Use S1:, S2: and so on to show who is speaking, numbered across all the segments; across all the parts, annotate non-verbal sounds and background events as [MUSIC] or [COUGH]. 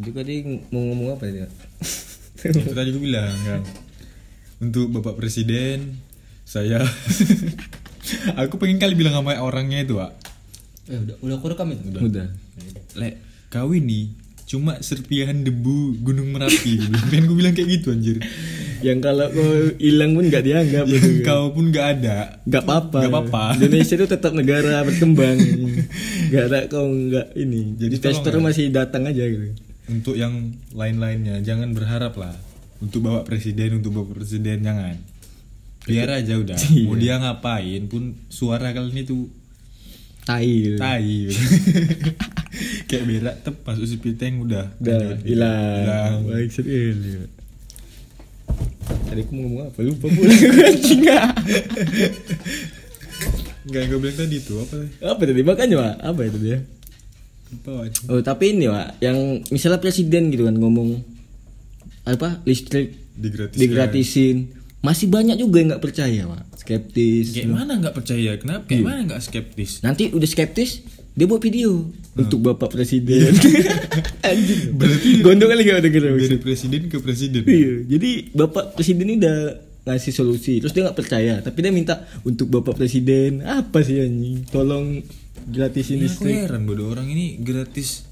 S1: juga dia mau ngomong apa dia [LAUGHS]
S2: itu tadi gue bilang kan untuk bapak presiden saya
S3: [LAUGHS]
S2: aku pengen kali bilang sama orangnya itu Wak.
S3: Eh, udah udah aku rekam itu.
S1: udah
S2: le kau ini cuma serpihan debu gunung merapi Gue bilang. pengen gue bilang kayak gitu anjir
S1: yang kalau kau hilang pun nggak dianggap
S2: yang
S3: ya.
S1: gitu kan.
S2: [LAUGHS] kau pun gak ada
S1: nggak apa-apa
S2: Nggak apa-apa.
S1: Indonesia itu tetap negara
S2: [LAUGHS]
S1: berkembang nggak ada kau nggak ini
S2: Jadi
S1: jadi investor
S2: tolong ya.
S1: masih datang aja gitu
S2: [LAUGHS] untuk yang lain-lainnya jangan berharap lah untuk bawa presiden untuk bawa presiden jangan biar aja
S3: [LAUGHS]
S2: udah
S3: Iya.
S2: mau dia ngapain pun suara kalian itu
S1: tai gitu.
S2: tai [LAUGHS] kayak berak tep masuk si tank udah
S1: udah hilang
S2: Hilang.
S1: baik sekali tadi aku mau ngomong apa lupa
S2: [LAUGHS]
S1: pula anjing ah.
S2: nggak yang gue bilang tadi tuh apa sih?
S1: apa tadi makanya pak apa itu dia
S2: lupa wajib
S1: oh tapi ini pak yang misalnya presiden gitu kan ngomong apa listrik
S2: digratiskan
S1: digratisin masih banyak juga yang nggak percaya pak skeptis
S2: kayak mana nggak percaya kenapa
S1: Iya.
S2: kayak mana nggak skeptis
S1: nanti udah skeptis dia buat video untuk bapak presiden [LAUGHS] anjing
S2: Hmm. Iya. Berarti-
S1: gondok kali gak ada kira
S2: dari presiden ke presiden
S1: Iya, jadi bapak presiden ini udah ngasih solusi, terus dia nggak percaya, tapi dia minta untuk bapak presiden apa sih anjing, tolong gratisin
S2: ini aku ya.
S1: listrik.
S2: heran Iya, bodoh orang ini gratis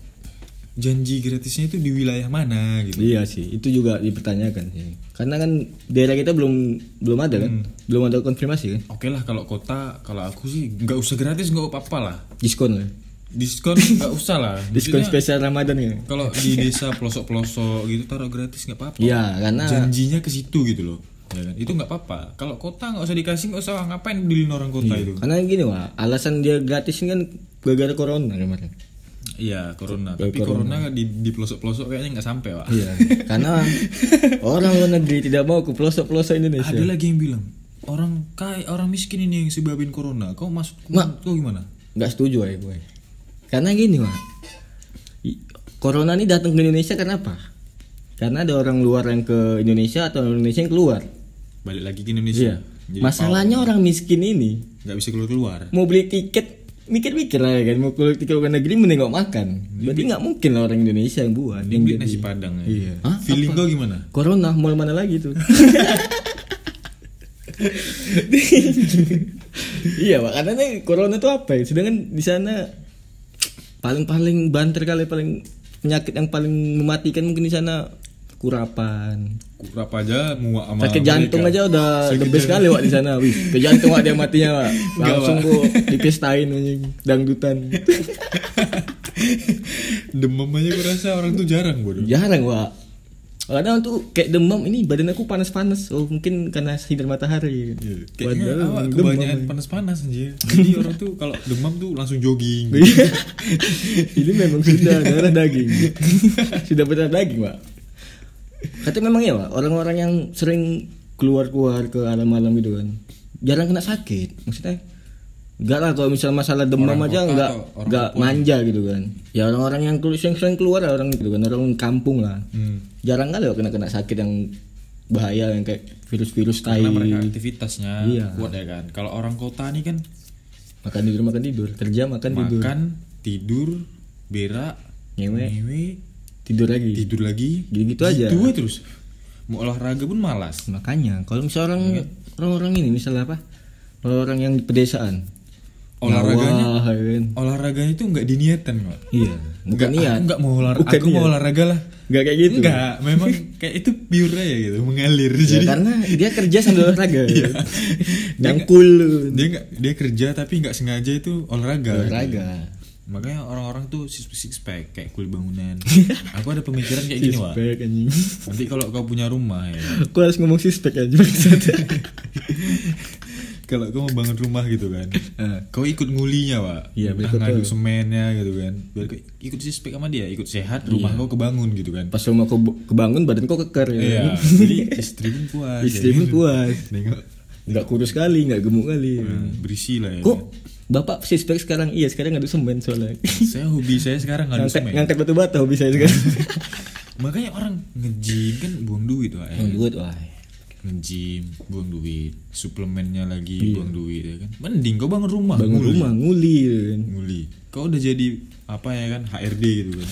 S2: janji gratisnya itu di wilayah mana gitu
S1: Iya sih, itu juga dipertanyakan sih. Karena kan daerah kita belum belum ada
S2: Hmm.
S1: kan, belum ada konfirmasi kan,
S2: Oke lah kalau kota kalau aku sih nggak usah gratis nggak apa-apa lah
S1: diskon lah,
S2: diskon nggak usah lah
S1: [LAUGHS] diskon
S2: Maksudnya,
S1: spesial Ramadan ya.
S2: kalau di desa pelosok-pelosok gitu taruh gratis nggak apa-apa
S1: Iya,
S2: Ah.
S1: karena
S2: janjinya ke situ gitu loh ya kan? itu nggak apa-apa kalau kota nggak usah dikasih nggak usah ngapain beliin orang kota itu
S1: karena gini wah, alasan dia gratisin kan gara-gara corona kemarin.
S2: iya corona
S1: Ya,
S2: tapi corona, di di pelosok-pelosok kayaknya nggak sampai pak
S1: Iya, [LAUGHS] karena orang luar negeri tidak mau ke pelosok-pelosok Indonesia.
S2: ada lagi yang bilang orang kaya orang miskin ini yang sebabin corona kau masuk
S1: Mak.
S2: kau gimana
S1: nggak setuju ya gue karena gini mah i- corona ini datang ke Indonesia kenapa karena ada orang luar yang ke Indonesia atau orang Indonesia yang keluar
S2: balik lagi ke Indonesia
S1: iya masalahnya orang miskin ini
S2: nggak bisa keluar keluar
S1: mau beli tiket mikir-mikir lah ya kan mau keluar tiket luar negeri mending nggak makan berarti nggak mungkin lah orang Indonesia yang buat yang
S2: beli
S1: jadi-
S2: nasi padang ya.
S1: Iya. Hah?
S2: feeling kau gimana
S1: corona mau mana lagi
S2: [LAUGHS]
S1: tuh iya pak karena nih, corona tuh apa ya sedangkan di sana paling-paling banter kali paling penyakit yang paling mematikan mungkin di sana kurapan
S2: kurap aja muak sama
S1: sakit jantung aja
S2: mereka.
S1: udah
S2: Sakit
S1: the best
S2: jantung.
S1: kali wak di sana wih ke jantung wak dia matinya wak
S2: Enggak,
S1: langsung
S2: Wak.
S1: gua dipestain anjing dangdutan
S2: [LAUGHS] demam aja gue rasa orang tuh jarang bodoh
S1: jarang wak kadang tuh kayak demam ini badan aku panas-panas oh mungkin karena sinar matahari
S2: Ya, Kayaknya
S1: Iya. Padahal
S2: awak
S1: demam.
S2: kebanyakan panas-panas anjir Jadi orang tuh kalau demam tuh langsung jogging
S1: [LAUGHS] Iya. ini memang sudah darah
S2: [LAUGHS]
S1: daging sudah pernah daging pak katanya memang ya pak orang-orang yang sering keluar-keluar ke alam-alam gitu kan jarang kena sakit maksudnya enggak lah kalau misal masalah demam
S2: Orang
S1: aja
S2: kota
S1: enggak
S2: atau orang
S1: enggak
S2: kampung?
S1: manja gitu kan ya orang-orang yang keluar sering, sering keluar ya orang gitu kan orang kampung lah
S2: Hmm.
S1: jarang kali Wak, kena kena sakit yang bahaya yang kayak virus-virus tai
S2: Karena mereka aktivitasnya
S1: Iya.
S2: kuat ya kan Kalau orang kota nih kan
S1: makan tidur makan tidur kerja makan Kan tidur
S2: Makan, tidur, berak,
S1: ngewe
S2: ngewe,
S1: tidur lagi
S2: tidur lagi
S1: Gitu-gitu aja.
S2: Gitu aja terus Mau olahraga pun malas
S1: makanya kalau misalnya orang
S2: Iya.
S1: orang-orang ini misalnya apa orang yang di pedesaan
S2: Olahraganya
S1: Wah, ya kan?
S2: Olahraganya tuh nggak diniatan kok
S1: iya bukan
S2: Nggak,
S1: niat
S2: Aku nggak mau olahraga
S1: Bukan
S2: Aku mau
S1: niat.
S2: olahraga lah
S1: nggak kayak gitu
S2: Enggak, memang kayak itu pure aja gitu, mengalir
S1: Ya,
S2: jadi Iya.
S1: karena dia kerja
S2: [LAUGHS]
S1: sambil olahraga nyangkul
S2: dia nggak dia kerja tapi nggak sengaja itu olahraga
S1: olahraga
S2: makanya orang-orang tuh six, six pack kayak kulit [LAUGHS] bangunan aku ada pemikiran kayak gini wah
S1: Sispek, anjing. [LAUGHS]
S2: nanti kalau kau punya rumah ya
S1: aku harus ngomong sispek aja maksud.
S2: [LAUGHS] kalau kau mau bangun rumah gitu kan
S1: Eh.
S2: kau ikut ngulinya pak
S1: Iya,
S2: Entah
S1: betul.
S2: ngadu semennya gitu kan biar kau ikut six pack sama dia ikut sehat rumah kau kebangun gitu kan
S1: pas rumah kau kebangun badan kau keker ya [LAUGHS]
S2: Iya, [LAUGHS] jadi istri pun kuat
S1: Istri pun kuat.
S2: Nengok,
S1: nggak kurus kali nggak gemuk kali
S2: eh, berisi lah ya
S1: kok bapak sispek sekarang iya sekarang ngadu semen soalnya
S2: saya hobi saya sekarang ngadu
S1: ngangkat
S2: semen
S1: ngangkat batu bata
S2: [LAUGHS]
S1: hobi saya sekarang
S2: makanya orang ngejin kan buang duit wah ya.
S1: Yang duit wah.
S2: nge-gym buang duit suplemennya lagi buang duit ya kan mending kau bangun rumah
S1: Iya. bangun
S2: nguli.
S1: rumah nguli gitu kan.
S2: nguli kau udah jadi apa ya kan HRD gitu
S1: [LAUGHS]
S2: kan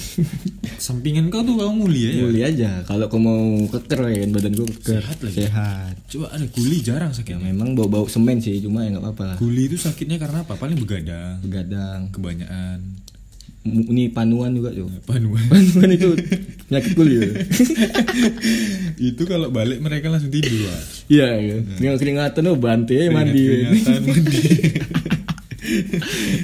S2: sampingan kau tuh kau nguli ya, ya.
S1: nguli aja kalau kau mau keker ya kan badan gua keker
S2: Sehat lagi.
S1: sehat
S2: coba ada guli jarang
S1: ya
S2: sakitnya
S1: memang bau bau semen sih cuma ya nggak apa-apa lah
S2: guli itu sakitnya karena apa paling begadang
S1: begadang
S2: kebanyakan
S1: M- ini panuan juga
S2: [LAUGHS]
S1: tuh [LAUGHS]
S2: panuan
S1: panuan itu penyakit kulit
S2: [LAUGHS]
S1: ya.
S2: itu kalau balik mereka langsung tidur Wak.
S1: iya iya keringat keringatan tuh bantai aja Eh, mandi
S2: Peringatan
S1: [LAUGHS]
S2: mandi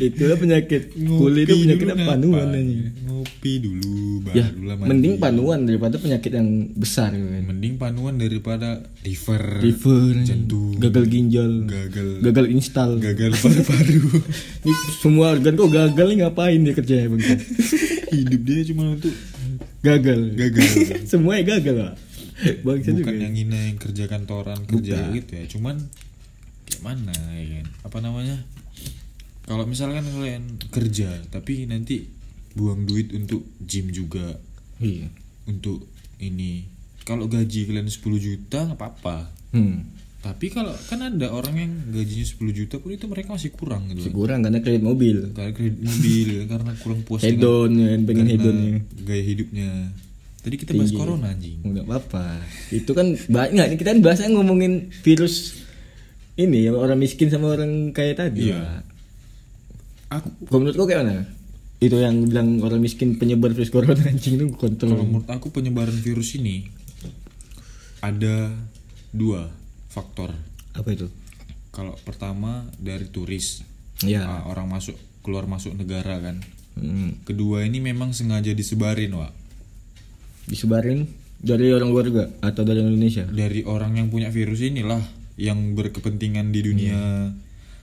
S1: itu penyakit kulit itu
S2: Ngopi
S1: penyakit
S2: dulu,
S1: panuan
S2: ngapain?
S1: aja
S2: ngopi dulu baru
S1: ya
S2: lah mandi.
S1: mending panuan daripada penyakit yang besar gitu kan
S2: mending panuan daripada liver
S1: liver
S2: jantung
S1: gagal ginjal
S2: gagal
S1: gagal install
S2: gagal
S1: [LAUGHS]
S2: paru-paru
S1: Ini semua organ kok gagal nih ngapain dia kerjanya bang
S2: hidup dia cuma untuk
S1: gagal [LAUGHS]
S2: gagal
S1: semuanya gagal pak bang saya juga ya.
S2: bukan yang ini yang kerja kantoran kerja gitu ya cuman gimana ya kan apa namanya kalau misalkan kalian kerja tapi nanti buang duit untuk gym juga
S1: iya
S2: untuk ini kalau gaji kalian 10 juta nggak apa-apa
S1: hmm.
S2: tapi kalau kan ada orang yang gajinya 10 juta pun itu mereka masih kurang gitu kan.
S1: kurang karena kredit mobil
S2: karena kredit mobil [LAUGHS] karena kurang puas dengan
S1: hedon ya kan, pengen hedonnya
S2: gaya hidupnya Iya. tadi kita bahas corona anjing
S1: nggak apa-apa itu kan banyak nih kita kan bahasnya ngomongin virus ini ya, orang miskin sama orang kaya tadi
S2: Iya.
S1: Pak.
S2: aku
S1: Kalau menurut kau kayak mana? Itu yang bilang orang miskin penyebar virus corona anjing itu
S2: kalau
S1: kontrol.
S2: menurut aku penyebaran virus ini ada dua faktor
S1: Apa itu?
S2: kalau pertama dari turis
S1: Ya.
S2: Ah, orang masuk keluar masuk negara kan
S1: Hmm.
S2: kedua ini memang sengaja disebarin wa
S1: Disebarin dari orang luar juga atau dari orang Indonesia?
S2: dari orang yang punya virus inilah yang berkepentingan di dunia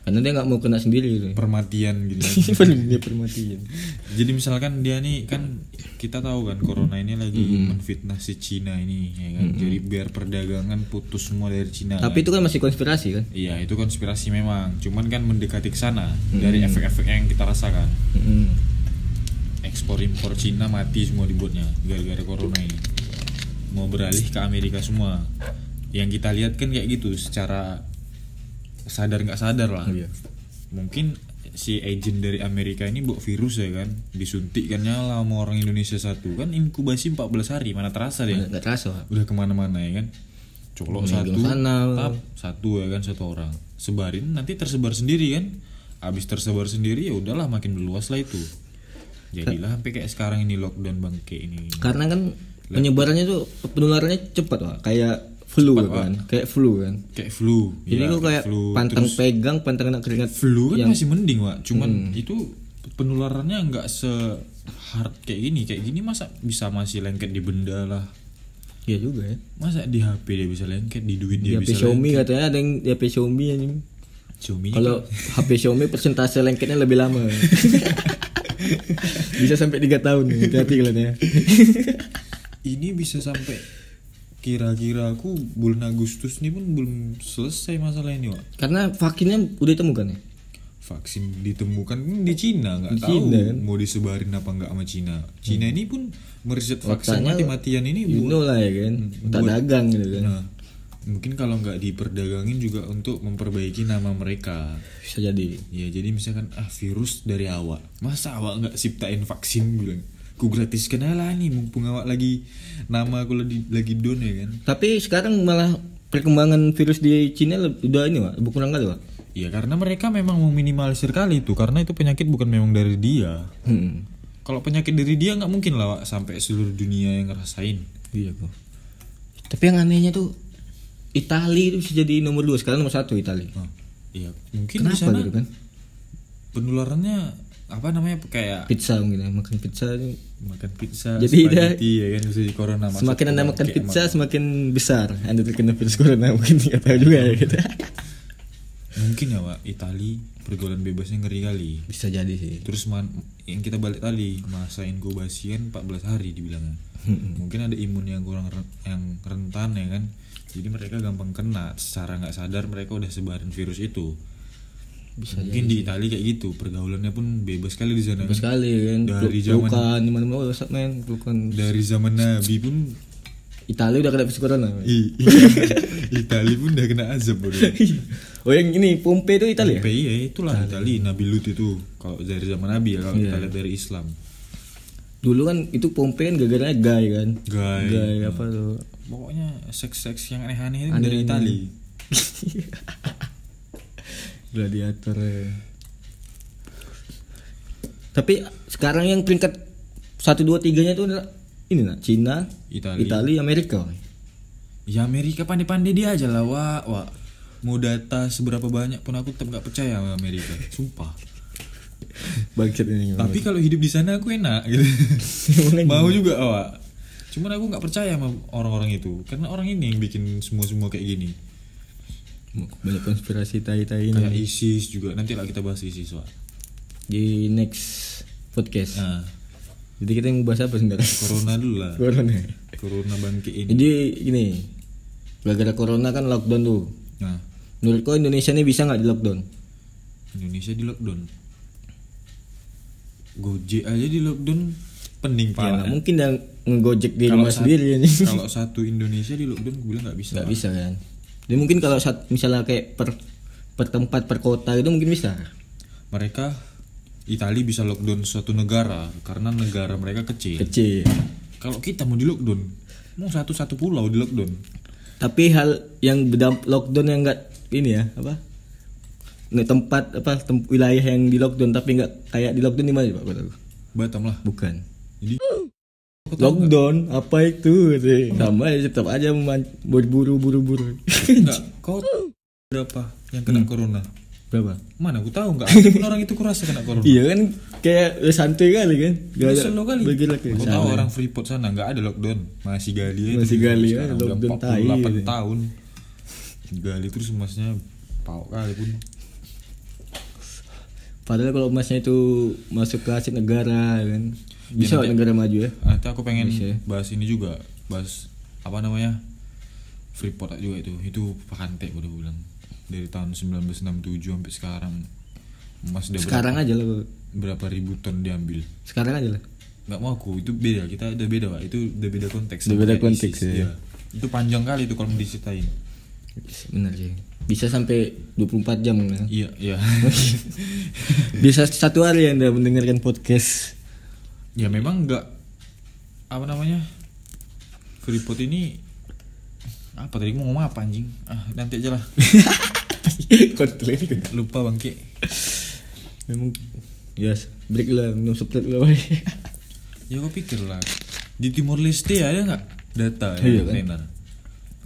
S1: Karena dia nggak mau kena sendiri [LAUGHS] gitu.
S2: permatian gitu.
S1: Dia permatiin.
S2: Jadi misalkan dia nih kan kita tahu kan corona ini lagi
S1: Mm-hmm.
S2: menfitnah si Cina ini ya kan. Jadi biar perdagangan putus semua dari Cina.
S1: Tapi
S2: kan.
S1: itu kan masih konspirasi kan?
S2: Iya, itu konspirasi memang. Cuman kan mendekati ke sana
S1: Mm-hmm.
S2: dari efek-efek yang kita rasakan.
S1: Hmm.
S2: Ekspor impor Cina mati semua dibuatnya gara-gara corona ini. Mau beralih ke Amerika semua. Yang kita lihat kan kayak gitu secara sadar nggak sadar lah.
S1: Iya.
S2: mungkin si agent dari Amerika ini bawa virus ya kan disuntikkannya lah sama orang Indonesia satu kan inkubasi 14 hari mana terasa
S1: Nggak
S2: deh
S1: nggak terasa. Pak.
S2: udah kemana-mana ya kan colok
S1: Nah,
S2: satu
S1: di sana.
S2: tap satu ya kan satu orang sebarin nanti tersebar sendiri kan abis tersebar sendiri ya udahlah makin meluas lah itu jadilah sampai kayak sekarang ini lockdown bangke ini
S1: Karena kan penyebarannya tuh penularannya cepat Pak. Kayak flu kan. Kayak flu kan.
S2: kayak flu
S1: Jadi
S2: ya,
S1: kok kayak pantang pegang, pantang kena keringat
S2: flu kan masih mending Wak
S1: Hmm.
S2: cuman itu penularannya nggak se hard kayak gini kayak gini masa bisa masih lengket di benda lah
S1: Iya juga ya.
S2: masa di HP dia bisa lengket di duit
S1: Di
S2: dia,
S1: HP
S2: bisa lengket
S1: Xiaomi katanya ada yang di HP Xiaomi anjing.
S2: Xiaomi
S1: Kalau
S2: kan? [LAUGHS]
S1: HP Xiaomi persentase lengketnya lebih lama. Bisa sampai 3 tahun nih, hati-hati kalian ya.
S2: ini bisa sampai kira-kira aku bulan Agustus ini pun belum selesai masalah ini Wak
S1: Karena vaksinnya udah ditemukan ya?
S2: vaksin ditemukan kan di Cina nggak
S1: Di
S2: tahu
S1: Cina, kan? Hmm.
S2: mau disebarin apa nggak sama Cina Cina ini pun meriset vaksin
S1: Makanya-
S2: mati-matian ini
S1: You
S2: bu-
S1: know lah ya kan, tak dagang gitu kan.
S2: Nah, mungkin kalau nggak diperdagangin juga untuk memperbaiki nama mereka.
S1: Bisa jadi.
S2: Ya jadi misalkan ah virus dari awak. Masa awak nggak ciptain vaksin bilang. Ku gratiskan aja lah nih mumpung awak lagi nama aku lagi, lagi down ya kan.
S1: Tapi sekarang malah perkembangan virus di Cina leb- udah ini, Pak, berkurang kali, Pak.
S2: Ya karena mereka memang meminimalisir kali itu karena itu penyakit bukan memang dari dia.
S1: Hmm.
S2: Kalau penyakit dari dia nggak mungkin lah Wak, sampai seluruh dunia yang ngerasain.
S1: Iya, kok. Tapi yang anehnya tuh Itali itu bisa jadi nomor 2, sekarang nomor 1 Itali.
S2: Nah, ya mungkin di
S1: Kenapa
S2: sana
S1: gitu kan?
S2: penularannya apa namanya kayak
S1: Pizza mungkin ya, makan pizza itu
S2: makan pizza
S1: Jadi dia-
S2: spaghetti, ya kan bisa di corona masuk
S1: semakin anda
S2: ke-
S1: makan
S2: kayak
S1: pizza semakin besar anda terkena virus corona [LAUGHS] mungkin nggak tahu juga ya kita
S2: ma- mungkin ya pak Itali pergaulan bebasnya ngeri kali
S1: [LAUGHS] bisa jadi sih
S2: terus man- yang kita balik tadi masa inkubasi kan 14 hari dibilangnya mungkin ada imun yang kurang ren- yang rentan ya kan jadi mereka gampang kena secara nggak sadar mereka udah sebarin virus itu mungkin di Itali kayak gitu pergaulannya pun bebas kali di sana
S1: Bagus
S2: kan.
S1: sekali kan
S2: Dari
S1: dari
S2: zaman-
S1: pelukan di mana mana oh WhatsApp men pelukan
S2: dari zaman Nabi pun
S1: Italia udah kena virus corona.
S2: [LAUGHS] I- Itali pun udah kena azab bodoh.
S1: [LAUGHS] oh yang ini Pompei itu Italia.
S2: Tapi ya itulah Itali Nabi Lut itu kalau dari zaman Nabi ya kalau kita lihat dari Islam.
S1: Dulu kan itu Pompei kan gara-gara gay kan.
S2: Guy.
S1: Gay apa
S2: [LAUGHS]
S1: tuh?
S2: Pokoknya seks-seks yang aneh-aneh itu
S1: Aneh-aneh.
S2: dari Itali.
S1: Gladiator. ya. Tapi sekarang yang peringkat 1 2 3-nya itu adalah ini nah, Cina,
S2: Itali.
S1: Italia, Amerika. woy.
S2: Ya Amerika pandai-pandai dia aja lah, Wak. Wak. Mau data seberapa banyak pun aku tetap nggak percaya sama Amerika. Sumpah.
S1: Bangkit ini.
S2: Tapi kalau hidup di sana aku enak [LAUGHS] gitu.
S1: Emang
S2: Mau juga, Wak. Cuman aku nggak percaya sama orang-orang itu karena orang ini yang bikin semua-semua kayak gini.
S1: banyak konspirasi tai-tai
S2: Kayak
S1: ini
S2: ISIS juga. Nanti lah kita bahas ISIS, Wak.
S1: di next podcast.
S2: Nah,
S1: Jadi kita yang bahas apa [LAUGHS] sebenarnya?
S2: corona dulu lah.
S1: Corona.
S2: Corona bangkit ini.
S1: Jadi gini, gara-gara corona kan lockdown tuh.
S2: Nah,
S1: Menurut kau Indonesia ini bisa nggak di lockdown?
S2: Indonesia di lockdown. Gojek aja di lockdown pening
S1: Ya, nggak
S2: pala.
S1: mungkin dah ngegojek di
S2: Kalau
S1: rumah
S2: sat-
S1: sendiri ini.
S2: kalau satu Indonesia di lockdown gue bilang nggak bisa.
S1: Nggak bisa kan? Jadi mungkin kalau saat misalnya kayak per per tempat per kota itu mungkin bisa.
S2: Mereka Itali bisa lockdown suatu negara karena negara mereka
S1: Iya.
S2: kecil.
S1: Kecil.
S2: Kalau kita mau di lockdown, mau satu-satu pulau di lockdown.
S1: Tapi hal yang berdamp lockdown yang enggak ini ya, apa? Nggak tempat apa tem- wilayah yang di lockdown tapi nggak kayak di lockdown di mana Pak? Kota lu?
S2: Batam lah.
S1: Bukan.
S2: Jadi
S1: Lockdown apa itu? sih? Sama aja tetap aja meman- berburu buru-buru.
S2: enggak kau tahu berapa yang
S1: Hmm.
S2: kena corona?
S1: [LAUGHS] Berapa?
S2: Mana aku tahu nggak? ada
S1: [LAUGHS]
S2: pun orang itu kurasa kena corona.
S1: Iya kan kayak udah santai kali kan? Gak ada
S2: Selalu kali.
S1: bergerak ya.
S2: Kau tahu orang Freeport sana nggak ada lockdown, masih gali aja.
S1: Masih gali ya,
S2: Sekarang
S1: lockdown
S2: udah 48
S1: tai.
S2: tahun. Gali terus emasnya pau kali pun.
S1: Padahal kalau emasnya itu masuk ke aset negara kan bisa kok negara maju ya.
S2: Nanti aku pengen
S1: Bisa. ya.
S2: bahas ini juga, bahas apa namanya Freeport juga itu, itu pantai udah bilang dari tahun 1967 sampai sekarang emas udah
S1: Sekarang aja lah Bang.
S2: berapa, berapa ribu ton diambil.
S1: sekarang aja lah.
S2: nggak mau aku itu beda kita udah beda pak itu udah beda konteks
S1: Udah beda
S2: Kayak
S1: konteks,
S2: ISIS,
S1: ya.
S2: iya. itu panjang kali itu kalau mau diceritain
S1: Bener sih. Bisa sampai 24 jam kan.
S2: iya
S1: [LAUGHS]
S2: iya [LAUGHS]
S1: Bisa satu hari Anda mendengarkan podcast.
S2: ya memang nggak apa namanya Freeport ini apa tadi mau ngomong apa anjing ah nanti aja lah
S1: Konten
S2: lupa bangke
S1: Memang yes, break lah, minum sepelet lah. woy.
S2: ya gue pikir lah di Timor Leste ada nggak data
S1: Iya
S2: ya
S1: kan?
S2: Nenar?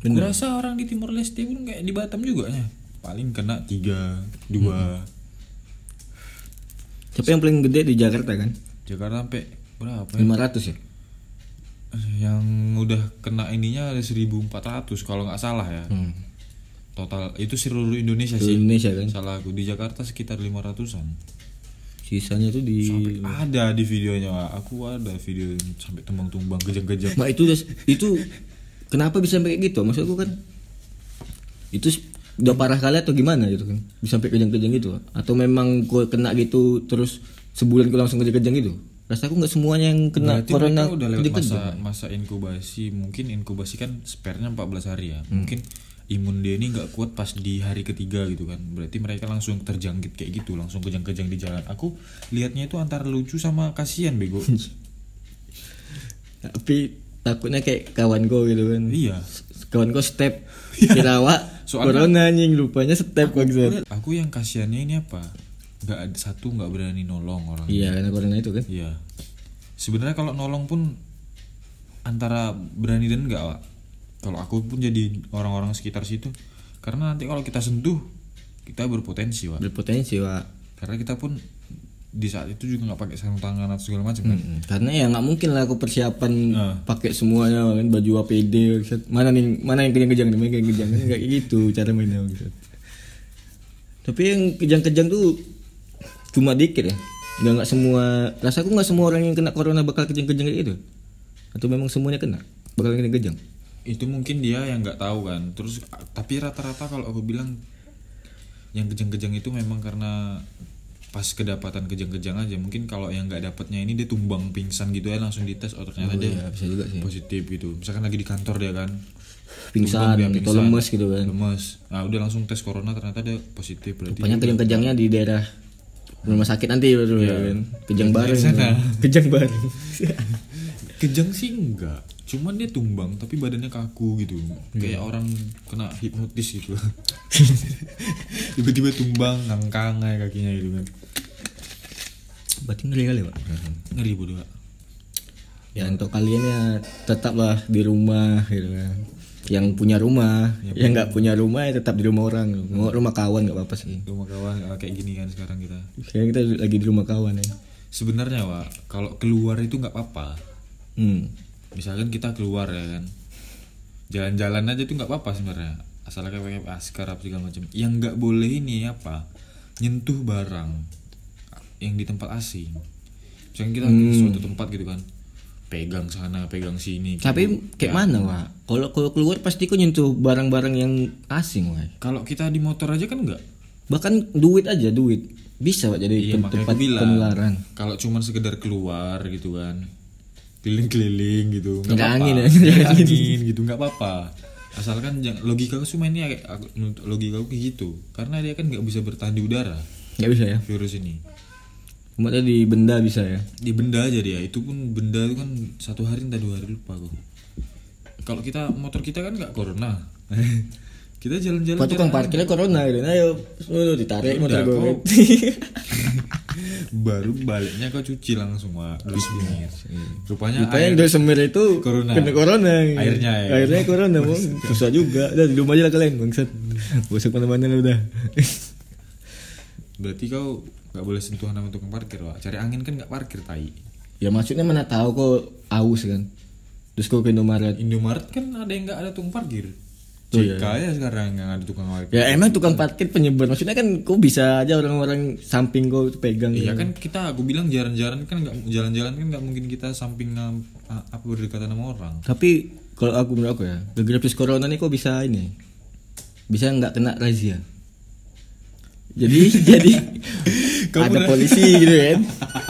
S2: Gua rasa orang di Timor Leste pun kayak di Batam juga ya paling kena tiga dua
S1: Tapi yang paling gede di Jakarta kan?
S2: Jakarta sampai berapa ya?
S1: 500 ya.
S2: yang udah kena ininya ada 1400 kalau nggak salah ya total itu seluruh Indonesia
S1: Di
S2: sih
S1: Indonesia kan.
S2: salah aku di Jakarta sekitar 500an
S1: Sisanya tuh di
S2: ada di videonya Wak. aku ada video yang sampai tumbang-tumbang
S1: Mak
S2: gejang-gejang
S1: Nah, itu udah- itu kenapa bisa sampai kayak gitu? Maksud aku kan itu s- udah parah kali atau gimana gitu kan? Bisa sampai kejang-kejang gitu atau memang gue kena gitu terus sebulan gue langsung kejang-kejang gitu? Rasa aku nggak semuanya yang kena
S2: berarti
S1: corona
S2: mereka udah lewat masa
S1: kejang-kejang.
S2: masa inkubasi mungkin inkubasi kan spernya 14 hari ya mungkin imun dia ini nggak kuat pas di hari ketiga gitu kan berarti mereka langsung terjangkit kayak gitu langsung kejang-kejang di jalan aku liatnya itu antara lucu sama kasihan bego
S1: Ya, Tapi takutnya kayak kawan gue gitu kan?
S2: iya
S1: S- Kawan gue
S2: [LAUGHS]
S1: step Kirawa
S2: Soalnya-
S1: corona anjing lupanya step gitu.
S2: aku yang kasihannya ini apa nggak ada satu nggak berani nolong orang
S1: Iya karena corona itu kan?
S2: Iya. sebenarnya kalau nolong pun antara berani dan enggak Wak. kalau aku pun jadi orang-orang sekitar situ karena nanti kalau kita sentuh kita berpotensi Wak.
S1: Berpotensi pak.
S2: karena kita pun di saat itu juga nggak pakai sarung tangan atau segala macam kan
S1: Mm-mm. Karena ya nggak mungkin lah aku persiapan
S2: Ah.
S1: pakai semuanya kan baju APD gitu. mana nih mana yang kejang-kejang nih mana yang kejang nggak kayak gitu cara mainnya gitu. Tapi yang kejang-kejang tuh cuma dikit ya. Nggak nggak semua rasa aku nggak semua orang yang kena corona bakal kejang-kejang kayak gitu. Atau memang semuanya kena bakal kejang-kejang.
S2: itu mungkin dia yang nggak tahu kan terus tapi rata-rata kalau aku bilang yang kejang-kejang itu memang karena pas kedapatan kejang-kejang aja mungkin kalau yang nggak dapatnya ini dia tumbang pingsan gitu ya langsung dites oh
S1: Oh,
S2: ternyata dia
S1: iya, bisa juga sih.
S2: positif gitu misalkan lagi di kantor dia kan
S1: Pingsan,
S2: Tumbang dia
S1: atau lemes gitu kan.
S2: lemes nah udah langsung tes corona ternyata dia positif berarti
S1: Banyak kejang-kejangnya di daerah rumah sakit nanti baru ya kan. Kejang bareng.
S2: sana.
S1: Kejang bareng.
S2: kejang sih enggak cuman dia tumbang tapi badannya kaku gitu
S1: Iya.
S2: kayak orang kena hipnotis gitu [LAUGHS] tiba-tiba tumbang ngangkang aja kakinya gitu kan
S1: [LAUGHS] Berarti ngeri kali, Pak.
S2: ngeri bodoh Kak.
S1: Ya untuk kalian ya tetaplah di rumah gitu kan. Yang punya rumah, yang nggak punya rumah ya tetap di rumah orang. Mau rumah kawan nggak apa-apa sih.
S2: rumah kawan ah, kayak gini kan sekarang kita
S1: Sekarang kita lagi di rumah kawan ya.
S2: sebenarnya wa kalau keluar itu nggak apa-apa
S1: Hmm.
S2: misalkan kita keluar ya kan jalan-jalan aja tuh nggak apa-apa sebenarnya asal kayak pakai masker apa segala macam yang nggak boleh ini apa nyentuh barang yang di tempat asing misalkan kita ke suatu tempat gitu kan pegang sana pegang sini
S1: Tapi kayak mana, Wak? Kalau kalau keluar pasti kau nyentuh barang-barang yang asing, Wak.
S2: kalau kita di motor aja kan nggak
S1: Bahkan duit aja, duit. Bisa, Wak, jadi
S2: Iya,
S1: tem-
S2: makanya
S1: tempat
S2: aku bilang.
S1: penularan.
S2: kalau cuman sekedar keluar gitu kan keliling-keliling gitu nggak
S1: Nggak
S2: apa-apa.
S1: angin ya.
S2: Nggak angin gitu nggak apa-apa asalkan jangan logika aku cuma ini kayak aku- menurut logika aku kayak gitu karena dia kan nggak bisa bertahan di udara
S1: Nggak bisa ya.
S2: virus ini
S1: Cuma tadi benda bisa ya.
S2: di benda aja dia itu pun benda itu kan satu hari entah dua hari lupa aku kalau kita motor kita kan nggak corona [LAUGHS] kita jalan-jalan
S1: Pak tukang parkirnya corona gitu. Nah, ayo, suruh ditarik motor
S2: Udah,
S1: gue.
S2: kau- baru baliknya kau cuci langsung wah dua menit rupanya
S1: Iya. Rupanya yang dari semir itu
S2: Corona.
S1: kena corona.
S2: Airnya ya.
S1: Airnya corona,
S2: [LAUGHS]
S1: Bang. Susah juga. Udah di rumah aja lah kalian, bangsat. Gak usah kemana-mana lah udah.
S2: Berarti kau nggak boleh sentuhan sama tukang parkir, Wak. Cari angin kan nggak parkir, tai.
S1: [LAUGHS] ya maksudnya mana tahu kok aus kan. Terus kok ke Indomaret.
S2: Indomaret kan ada yang nggak ada tukang parkir.
S1: Tuh,
S2: JK ya sekarang yang ada tukang parkir.
S1: Oh, iya, Ya emang tukang parkir penyebar. Maksudnya kan kok bisa aja orang-orang samping kau pegang.
S2: Iya
S1: gitu.
S2: kan kita aku bilang jalan-jalan kan nggak jalan-jalan kan nggak mungkin kita samping ngam- a- apa berdekatan sama orang.
S1: Tapi kalau aku menurut aku ya, gara-gara virus corona nih kok bisa ini. Bisa nggak kena razia. Jadi jadi
S2: Kamu
S1: ada
S2: udah-
S1: polisi gitu kan.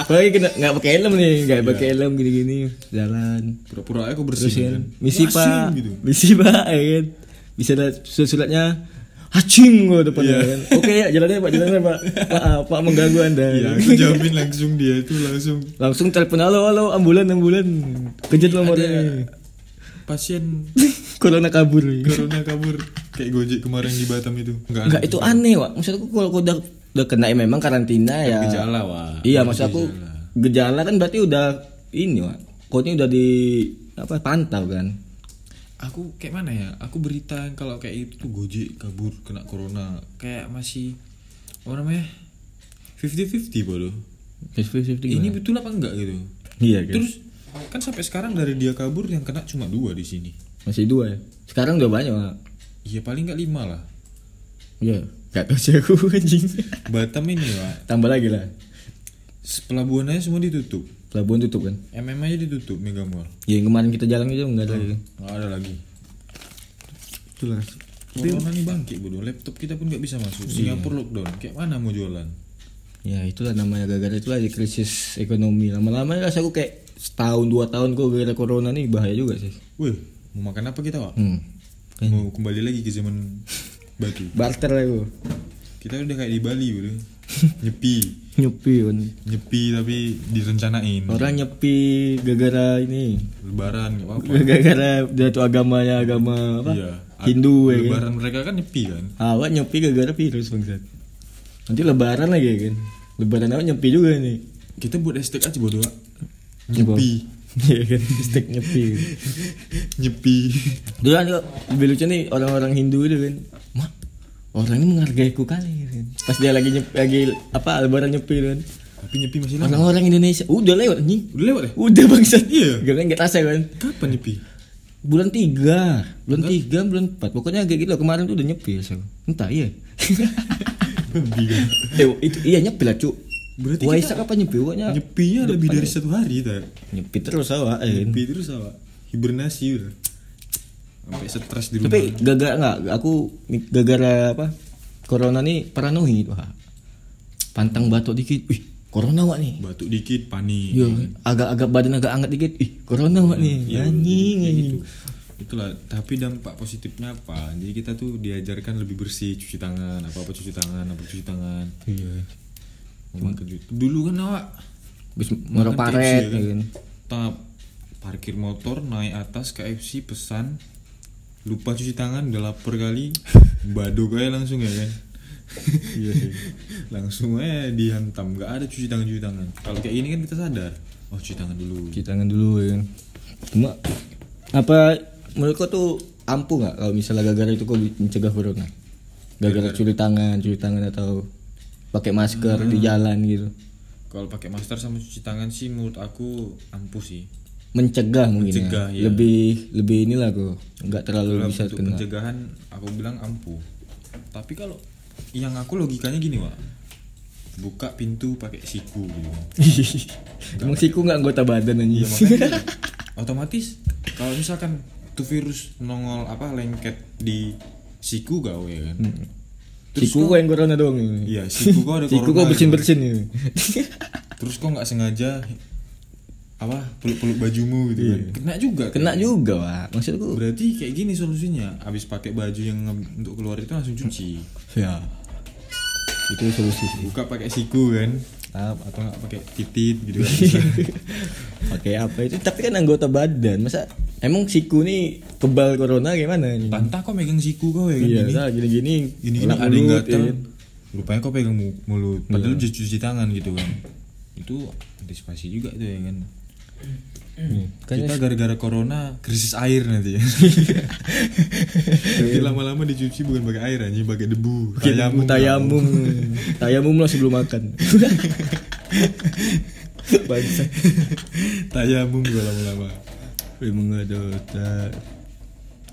S1: Apalagi kena nggak pakai helm nih, nggak pakai helm gini-gini jalan.
S2: Pura-pura aku
S1: Terus
S2: bersih.
S1: kan,
S2: kan.
S1: misi
S2: Wasing,
S1: pak,
S2: gitu.
S1: misi pak, ya kan. Bisa ada surat-suratnya, hacing gua depannya kan. Oke ya, jalannya pak, jalannya pak. Maaf, pak mengganggu anda. [LAUGHS]
S2: Iya, aku jamin langsung dia itu langsung
S1: Langsung telepon halo halo ambulan ambulan, kejar nomornya.
S2: pasien
S1: Corona kabur.
S2: corona kabur kayak Gojek kemarin di Batam itu. Enggak.
S1: Enggak itu aneh, Wak. Maksud aku kalau kau udah udah kena ya memang karantina ya.
S2: Gejala, Wak.
S1: Iya, maksud aku gejala kan berarti udah ini, Wak. Kau ini udah di apa pantau kan.
S2: aku kayak mana ya aku berita yang kalau kayak itu tuh gojek kabur kena corona kayak masih apa namanya fifty fifty bodoh ini
S1: Ini
S2: betul apa enggak gitu
S1: iya kan.
S2: terus kan sampai sekarang dari dia kabur yang kena cuma dua di sini
S1: masih dua ya. Sekarang udah banyak, Wak.
S2: ya paling nggak lima lah
S1: Iya. Gak tahu sih aku [LAUGHS] anjing.
S2: Batam ini pak
S1: Tambah lagi lah.
S2: pelabuhannya semua ditutup
S1: Pelabuhan tutup kan.
S2: MM aja ditutup Mega Mall
S1: Ya yang kemarin kita jalan itu enggak ada lagi.
S2: nggak ada lagi
S1: Itulah.
S2: corona nih bangkit bodoh laptop kita pun nggak bisa masuk Singapura lockdown kayak mana mau jualan
S1: Ya itulah namanya gara-gara itulah di krisis ekonomi. Lama-lama rasa aku kayak setahun dua tahun kok gara-gara corona nih bahaya juga sih.
S2: wih mau makan apa kita pak
S1: Hmm.
S2: mau kembali lagi ke zaman batu
S1: Barter lah aku.
S2: kita udah kayak di Bali
S1: [LAUGHS]
S2: gitu nyepi
S1: Nyepi kan.
S2: nyepi tapi direncanain
S1: Orang nyepi gara-gara ini.
S2: lebaran nggak apa-apa
S1: Gara-gara dia tuh agamanya agama apa?
S2: iya
S1: Hindu ya kan.
S2: lebaran mereka kan nyepi kan
S1: Awak nyepi gara-gara virus bangsat. Nanti lebaran lagi ya kan. Lebaran awak nyepi juga nih. [LAUGHS]
S2: kita buat hashtag aja bodoh Wak. nyepi
S1: Iya kan, stick nyepi.
S2: nyepi
S1: Dulu kan kok, lebih lucu nih orang-orang Hindu itu kan. Mah, orang ini menghargaiku kali kan. Pas dia lagi nyepi, lagi apa lebaran nyepi kan.
S2: tapi nyepi masih lama
S1: Orang-orang Indonesia udah lewat anjing.
S2: udah lewat ya
S1: Udah bangsat.
S2: Iya.
S1: Gak kan enggak rasa kan.
S2: kapan nyepi
S1: bulan tiga bulan tiga bulan empat pokoknya kayak gitu lah. kemarin tuh udah nyepi so. entah [LAUGHS] iya
S2: Babi,
S1: [LAUGHS]
S2: kan?
S1: eh, itu iya nyepi lah cu
S2: Berarti
S1: Waisak apa nyepi pokoknya
S2: nyepinya lebih
S1: ya.
S2: dari satu hari tak
S1: nyepi terus awak eh.
S2: nyepi terus apa hibernasi udah sampai stres di rumah
S1: tapi gara-gara nggak aku gara-gara apa corona nih paranoid wah pantang batuk dikit ih corona wak nih
S2: batuk dikit panik
S1: Yo, agak-agak badan agak anget dikit ih corona wak nih
S2: Ya,
S1: anjing
S2: kayak
S1: anjing
S2: gitu. itulah tapi dampak positifnya apa jadi kita tuh diajarkan lebih bersih cuci tangan apa apa cuci tangan apa cuci tangan
S1: iya
S2: Makan cuci- dulu kan awak
S1: bis merok
S2: makan
S1: paret
S2: KFC,
S1: ya kan.
S2: Tap, parkir motor naik atas KFC pesan lupa cuci tangan udah lapar
S1: [LAUGHS]
S2: kali baduk aja langsung ya kan
S1: Iya,
S2: [LAUGHS] langsung aja dihantam nggak ada cuci tangan cuci tangan kalau kayak ini kan kita sadar oh cuci tangan dulu
S1: cuci tangan dulu ya kan cuma apa menurut kau tuh ampuh nggak kalau misalnya gara-gara itu kau mencegah corona gara-gara cuci tangan cuci tangan atau pakai masker di
S2: Hmm.
S1: jalan gitu
S2: Kalau pakai masker sama cuci tangan sih menurut aku ampuh sih.
S1: mencegah mungkin
S2: Mencegah,
S1: ya.
S2: ya.
S1: lebih lebih inilah kok nggak terlalu
S2: Kalau
S1: bisa
S2: untuk
S1: kena
S2: pencegahan aku bilang ampuh. Tapi kalau yang aku logikanya gini, Wak. Buka pintu pakai siku gitu.
S1: [LAUGHS] emang siku nggak anggota badan
S2: Iya,
S1: anjing
S2: makanya otomatis kalau misalkan tuh virus nongol apa lengket di siku gawe kan.
S1: Hmm.
S2: Terus
S1: [LAUGHS] siku kau yang corona doang ini.
S2: Iya, siku kau ada
S1: [LAUGHS] siku kau ya?
S2: corona,
S1: bersin bersin ini
S2: gitu. Terus kok nggak sengaja apa peluk-peluk bajumu gitu kan. Kena juga.
S1: [LAUGHS]
S2: kan?
S1: Iya. kena juga wah maksudku
S2: Berarti kayak gini solusinya. Abis pakai baju yang nge- untuk keluar itu langsung cuci.
S1: ya itu solusi sih
S2: Buka pakai siku kan.
S1: Tap,
S2: Atau nggak pakai titit gitu
S1: [LAUGHS]
S2: kan. Bisa.
S1: Pakai apa itu? Tapi kan anggota badan. Masa emang siku nih kebal corona gimana nih?
S2: Tantah kok megang siku kau ya kan
S1: Iya,
S2: gini.
S1: nah, gini-gini
S2: Gini gini
S1: orang
S2: ada yang
S1: mulut,
S2: gatel.
S1: ya.
S2: Rupanya kau pegang mu- mulut. Padahal udah cuci tangan gitu kan. Itu antisipasi juga itu ya kan.
S1: Kayaknya
S2: Kita gara-gara corona krisis air nanti ya. nanti lama-lama dicuci bukan pakai air anjing, pakai debu.
S1: tayamum, tayamum, tayamum lah sebelum makan. Bangsa.
S2: Tayamum gua lama-lama.
S1: Emang ada otak.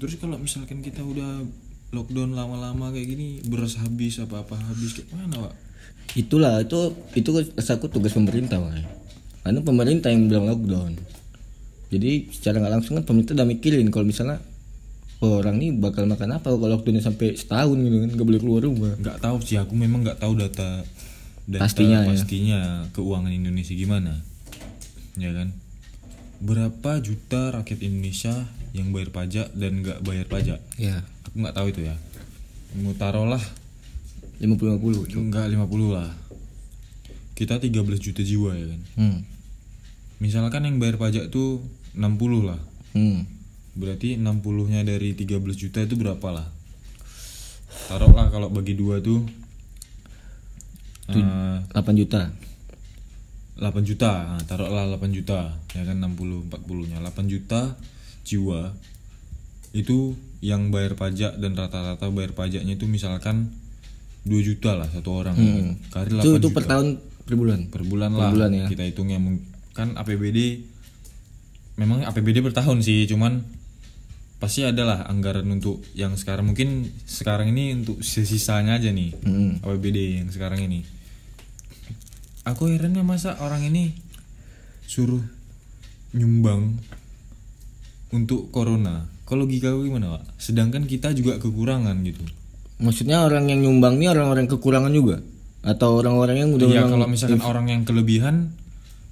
S2: Terus kalau misalkan kita udah lockdown lama-lama kayak gini, beras habis apa-apa habis kayak mana, Pak?
S1: Itulah itu itu rasaku tugas pemerintah Wak. Karena pemerintah yang bilang lockdown. Jadi secara nggak langsung kan pemerintah udah mikirin kalau misalnya oh, orang nih bakal makan apa kalau lockdownnya sampai setahun gitu kan nggak boleh keluar rumah.
S2: Nggak tahu sih, aku memang nggak tahu data data
S1: Pastinya, ya.
S2: pastinya keuangan Indonesia gimana. Ya kan? Berapa juta rakyat Indonesia yang bayar pajak dan nggak bayar pajak?
S1: Ya.
S2: Aku nggak tahu itu ya. Mau taruhlah
S1: lima puluh lima puluh
S2: enggak 50 lah. Kita 13 juta jiwa ya kan.
S1: hmm.
S2: Misalkan yang bayar pajak tuh 60 lah.
S1: hmm.
S2: Berarti 60-nya dari 13 juta itu berapa lah? Taruhlah kalau bagi dua tuh eh,
S1: 8 juta
S2: 8 juta. Nah, taruhlah 8 juta. Ya kan 60 40-nya 8 juta jiwa. Itu yang bayar pajak dan rata-rata bayar pajaknya itu misalkan 2 juta lah satu orang. ya kan. Kali
S1: Hmm. itu itu
S2: 8 juta
S1: per tahun per bulan
S2: per bulan
S1: Per
S2: lah
S1: bulan ya.
S2: kita hitungnya Mung- kan APBD memang APBD per tahun sih cuman pasti adalah anggaran untuk yang sekarang mungkin sekarang ini untuk sisanya aja nih
S1: Hmm.
S2: APBD yang sekarang ini aku herannya masa orang ini suruh nyumbang untuk corona kalau logika aku gimana pak sedangkan kita juga kekurangan gitu
S1: maksudnya orang yang nyumbang nih orang-orang kekurangan juga atau orang-orang yang udah
S2: Iya
S1: memang-
S2: kalau misalkan orang yang kelebihan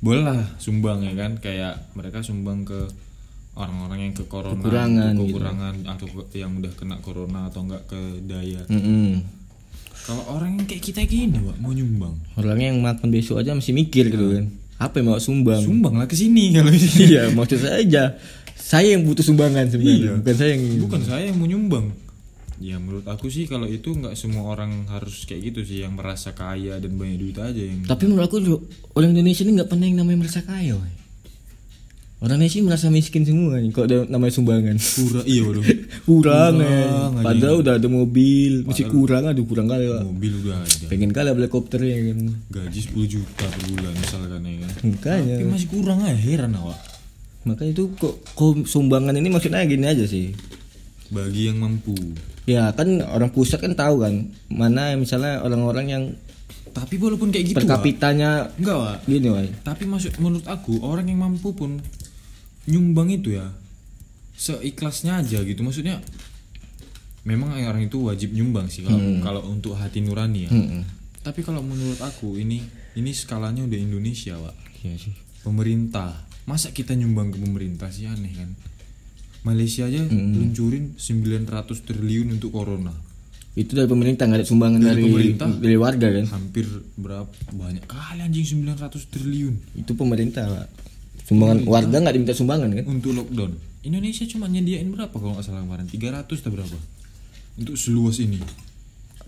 S2: boleh lah sumbang ya kan kayak mereka sumbang ke orang-orang yang ke corona
S1: Kekurangan
S2: ke
S1: gitu.
S2: kekurangan atau ke- yang udah kena corona atau enggak ke daya.
S1: Mm-mm.
S2: Kalau orang yang kayak kita gini Wak, mau nyumbang.
S1: orangnya yang makan besok aja masih mikir gitu kan apa yang mau sumbang
S2: Sumbang lah ke sini kalau gitu. ini.
S1: [LAUGHS] iya maksud saya aja saya yang butuh sumbangan sebenarnya
S2: Iya.
S1: bukan saya yang
S2: Bukan saya yang mau nyumbang. Ya menurut aku sih kalau itu nggak semua orang harus kayak gitu sih yang merasa kaya dan banyak duit aja yang
S1: tapi menurut aku juga, orang Indonesia ini nggak pernah yang namanya merasa kaya woy. orang Indonesia merasa miskin semua nih kalau ada namanya sumbangan
S2: pura iya waduh.
S1: kurang, eh.
S2: Kurang aja.
S1: padahal udah ada mobil masih kurang aduh kurang kali Wak.
S2: Mobil udah ada.
S1: pengen kali beli helikopter ya kan
S2: Gaji 10 juta per bulan misalkan ya kan.
S1: makanya
S2: Tapi masih kurang aja heran awak.
S1: makanya itu kok, kok sumbangan ini maksudnya gini aja sih
S2: Bagi yang mampu.
S1: ya kan orang pusat kan tahu kan mana yang misalnya orang-orang yang
S2: Tapi walaupun kayak gitu,
S1: per
S2: Wak.
S1: kapitanya
S2: enggak, Wak.
S1: gini wah
S2: Tapi maksud menurut aku orang yang mampu pun nyumbang itu ya seikhlasnya aja gitu. Maksudnya memang orang itu wajib nyumbang sih kalau kalau untuk hati nurani ya. Tapi kalau menurut aku ini ini skalanya udah Indonesia, Pak.
S1: Iya sih.
S2: Pemerintah. Masa kita nyumbang ke pemerintah sih aneh kan? Malaysia aja luncurin 900 triliun untuk corona.
S1: Itu dari pemerintah nggak ada sumbangan dari
S2: Dari
S1: dari,
S2: pemerintah?
S1: warga kan?
S2: Hampir berapa banyak kali anjing 900 triliun
S1: Itu pemerintah pak. Sumbangan warga nggak diminta sumbangan kan?
S2: untuk lockdown. Indonesia cuma nyediain berapa kalau nggak salah kemarin? 300 atau berapa? Untuk seluas ini.